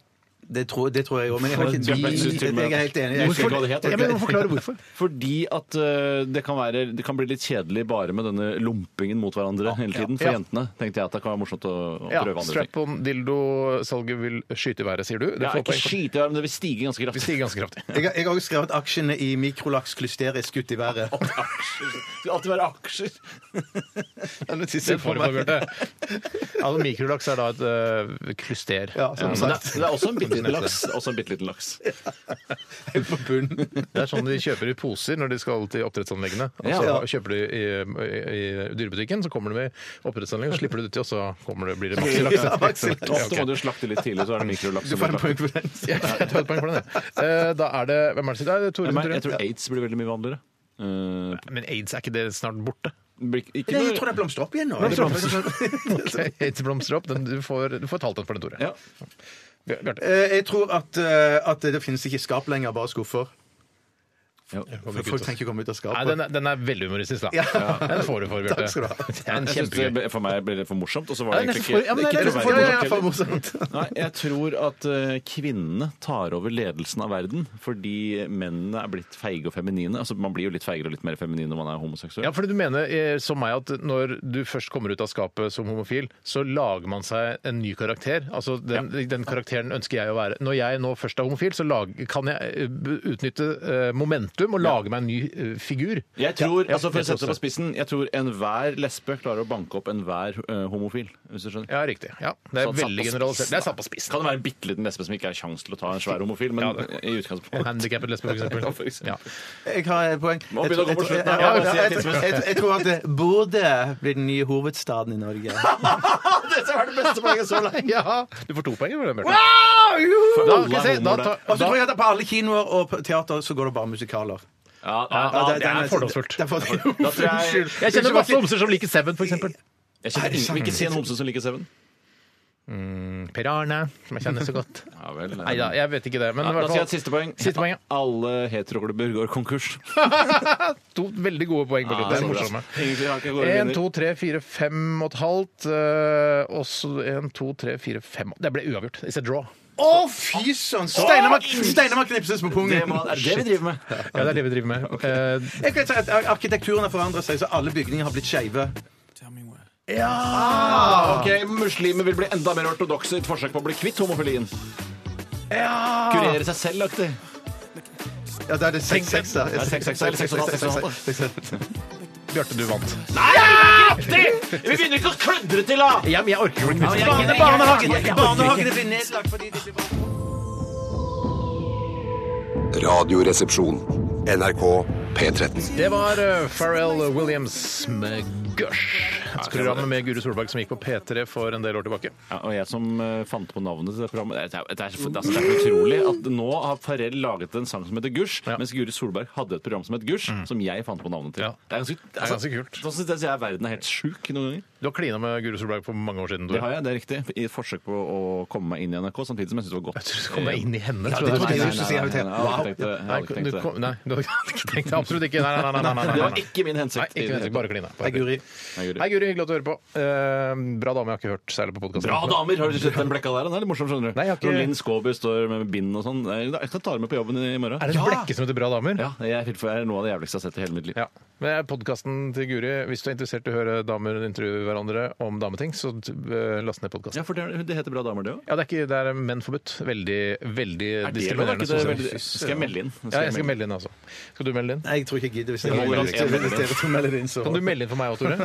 det tror, det tror jeg òg, men jeg har ikke Jeg synes til og med- Jeg er helt enig. Jeg husker ikke hva det het. Ja, men du må forklare hvorfor. Fordi at eh, det kan, være, det kan bli litt kjedelig bare med denne lumpingen mot hverandre hele tiden. For Ja. jentene tenkte jeg at det kan være morsomt å, å Ja, prøve andre ting. Strap-on-dildo-salget vil skyte i været, sier du. Det Ja, får ikke poeng for. skyte i været, men det vil stige ganske Vi kraftig. stiger ganske kraftig. Jeg, har- jeg har også skrevet aksjene i Mikrolax klyster er skutt i været. Aksjer. Det skal alltid være aksjer. Det får du, Bjarte. Ja, men mikrolaks er da et eh, klyster. Ja, som Men det, sagt. det er også en bitte liten laks. Også en bitte liten laks. Helt på bunnen. Det er sånn de kjøper i poser når de skal til oppdrettsanleggene. Og så Ja. kjøper de i, i, i dyrebutikken, så kommer de med oppdrettsanlegg, og slipper det uti, og så kommer det, blir det maksilaks. Ja, maksilaks. Ja, ok. Ofte må du slakte litt tidlig, så er det mikrolaks. Du som får en blir slaktet. poeng for den. Ja, Jeg tar et poeng for den, jeg. Eh, Da er det Hvem er det som sitter her? Tore Men jeg Sundtun? tror aids blir veldig mye vanligere. Eh, Men aids, er ikke det snart borte? blir ikke- ikke Nei, jeg noe- tror det blomstrer opp igjen nå. Ok, Aids blomstrer opp. Den, du, får, du får et halvt en for den, Tore. ja. Bjarte. Eh, Jeg tror at, eh, at det finnes ikke skap lenger, bare skuffer. Ja. For folk trenger ikke komme ut av Nei, skapet. den er, den er veldig humoristisk, da. Den får du for, Bjarte. Takk skal du ha. Det er en Jeg synes kjempegøy. det, ble- for meg ble det for morsomt, og så var Nei, det egentlig nesten for- ikke ja, men det er ikke nesten troverdig for- Ja, nok ja, for heller. morsomt. Nei, jeg tror at eh, kvinnene tar over ledelsen av verden fordi mennene er blitt feige og feminine. Altså, Man blir jo litt feigere og litt mer feminin når man er homoseksuell. Ja, fordi du mener eh, som meg at når du først kommer ut av skapet som homofil, så lager man seg en ny karakter. Altså den, den karakteren ønsker jeg å være. Når jeg nå først er homofil, så lag, kan jeg eh, b- utnytte eh, momentum og lage meg en ny eh, figur. Jeg tror, Ja, altså for å jeg tror sette det på også. spissen, jeg tror enhver lesbe klarer å banke opp enhver eh, homofil. hvis du skjønner. Ja, riktig. Ja, det er Sånn satt på veldig generalisert. spissen, Det er da. satt på spissen. Kan det være en bitte liten lesbe som ikke har kjangs til å ta en svær homofil, men i utgangspunktet En handikappet lesbe, Ja, for for eksempel. eksempel. Ja. Jeg har et poeng. Må begynne å gå på slutten her. Ja, Ja, ja, ja, jeg- jeg- jeg- jeg tror at det burde bli den nye hovedstaden i Norge. ja, du får to poeng for den, Bjarte. Da, Alle er skal vi se, da, homoer der. tar- Og så tror jeg at på alle kinoer og på teater så går det bare musikaler. Ja, ja, ja, Ja, det er nesten- fordomsfullt. det er fordomsfullt. Da tror jeg- Unnskyld. jeg kjenner masse homser som liker Seven, for eksempel. Jeg kjenner ingen, vil ikke si en homse som liker Seven. Per Arne, som jeg kjenner så godt. Ja vel. Nei da, jeg vet ikke det. Men Ja, i da hvert skal jeg ha et fall siste poeng. Siste poeng, ja. Alle heteroklubber går konkurs. to veldig gode poeng på slutten. Ah, Det er morsomme. Egentlig har ikke gått En, vinner. to, tre, fire, fem og et halvt. eh, Og så en, to, tre, fire, fem Det ble uavgjort. It's a draw. Å, fy søren! Steinar må- Steinar må knipses på pungen. Det må- er det det vi driver med? Ja, det er det vi driver med. Eh, Jeg kan si at Arkitekturen har forandret seg, så alle bygninger har blitt skeive. Ok, Muslimer vil bli enda mer ortodokse i et forsøk på å bli kvitt homofilien. Kurere seg selv-aktig. Ja, da er det seks Tenk- seks, da. er seks, seks, eller seks og en halv, seks og en halv. Seks, seks, seks. Bjarte, du vant. Vi begynner ikke å klødre til, da! Ja, men jeg orker jo ikke mer. Barnehagen! Barnehagene blir nedlagt fordi de blir Radioresepsjon. NRK P13. Det var eh, Pharrell Williams med Gush. Programmet med Guri Solberg som gikk på P3 for en del år tilbake. Ja, og jeg som eh, fant på navnet til det programmet Det er, det er, det er, altså, det er utrolig at nå har Farrell laget en sang som heter Gush, mens Guri Solberg hadde et program som het Gush, som jeg fant på navnet til. Mm. Ja. Det er ganske, er ganske kult. Da synes jeg- jeg verden er helt sjuk noen ganger. Du har klina med Guri Solberg for mange år siden. Det Tore. har jeg, det er riktig. I et forsøk på å komme meg inn i NRK, samtidig som jeg syns det var godt. Jeg tror du kom deg inn i henne. tror det jeg. trodde jeg Nei, du skulle si. Jeg tenkte, jeg hadde ikke tenkt det. Jeg Nei, hadde ikke du tenkt det. kom, nei, du hadde ikke tenkt det. Absolutt ikke. Nei, nei, nei. nei, nei, nei, Det nei, var nei. ikke min Nei, hensikt. ikke vent, bare kline. Bare Hei, Guri. Nei, Guri. Hei, Guri. Hyggelig at du hører på. Eh, bra dame. Jeg har ikke hørt særlig på podkasten. Bra damer! Har du sett den blekka der? Den er litt morsom, skjønner du. Nei, jeg har ikke- Når Linn Skåber står med bind og sånn. Nei, Jeg kan ta det med på jobben i morgen. Er det en blekke som heter Bra damer? Ja, jeg er helt- jeg er noe av det jævligste jeg har sett i hele mitt liv. Ja. Men podkasten til Guri Hvis du er interessert i å høre damer intervjue hverandre om dameting, så eh, last ned podkasten. Ja, for det, det heter Bra damer, det òg. Ja, det er, ikke, det er menn forbudt. Veldig, veldig diskriminerende. sosial- Fy Skal jeg melde inn? Ja, jeg skal melde inn, altså. Skal du melde inn? Nei, jeg tror ikke jeg gidder. Hvis holder dere- at hvis dere- jeg- hvis dere to melder inn, så Kan du melde inn for meg òg, Tore?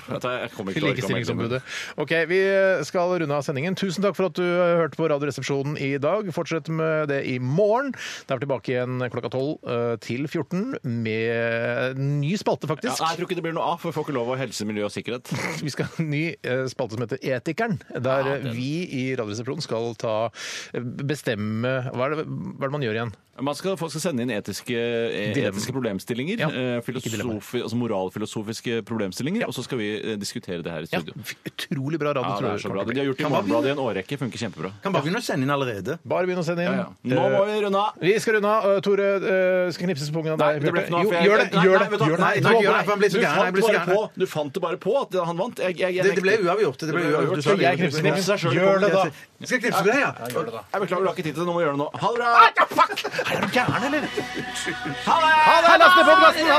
Vet du, Jeg kommer ikke til å orke å Til melde Likestillingsombudet. inn. Ok, Vi skal runde av sendingen. Tusen takk for at du eh, hørte på Radioresepsjonen i dag. Fortsett med det i morgen. Det er vi tilbake igjen klokka 12 eh, til 14 med en ny spalte, Ja, faktisk. jeg tror ikke det blir noe av, for vi får ikke lov av helse, miljø og sikkerhet. Vi skal ha en ny eh, spalte som heter Etikeren, der Ja, eh, den. vi i Radioresepsjonen skal ta eh, bestemme Hva er det, hva er det man gjør igjen? Man skal, folk skal sende inn etiske, eh, Dilemma. etiske problemstillinger. Ja, eh, ikke dilemma. filosofi, altså moralfilosofiske problemstillinger. Og så skal vi eh, diskutere det her i Ja, studio. utrolig bra radio. Ja, det tror jeg er så kommer bra. til å bli. De har gjort det i Morgenbladet i en årrekke. Funker kjempebra. kan bare begynne å sende inn allerede. Bare begynn å sende inn. Ja, ja. Nå må vi runde av! Vi skal runde av. Uh, Tore uh, skal knipses på pungen av Nei, deg. det ble ikke noe av, Jo, for jeg- gjør det! Nei, Gjør nei, det! vet du hva? Gjør det. Nei, ikke nei, gjør det, nei. for han blir så Du fant gæren, jeg blir så bare gæren. på- Du fant det bare på at han vant. Jeg, jeg, jeg Det, det ble nekter. uavgjort. Det ble uavgjort. Du Skal sa jeg uavgjort. knipse på pungen? Knipse deg selv i Gjør det, da! pungen. Skal jeg knipse på deg, ja? Jeg beklager, du har ikke tid til det. Nå må vi gjøre det nå. Ha det bra! Fuck! Er du gæren, eller? Ha det! Ha det! Last ned podkasten! Ha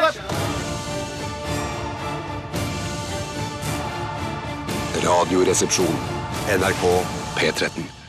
det! Radioresepsjon. NRK P13.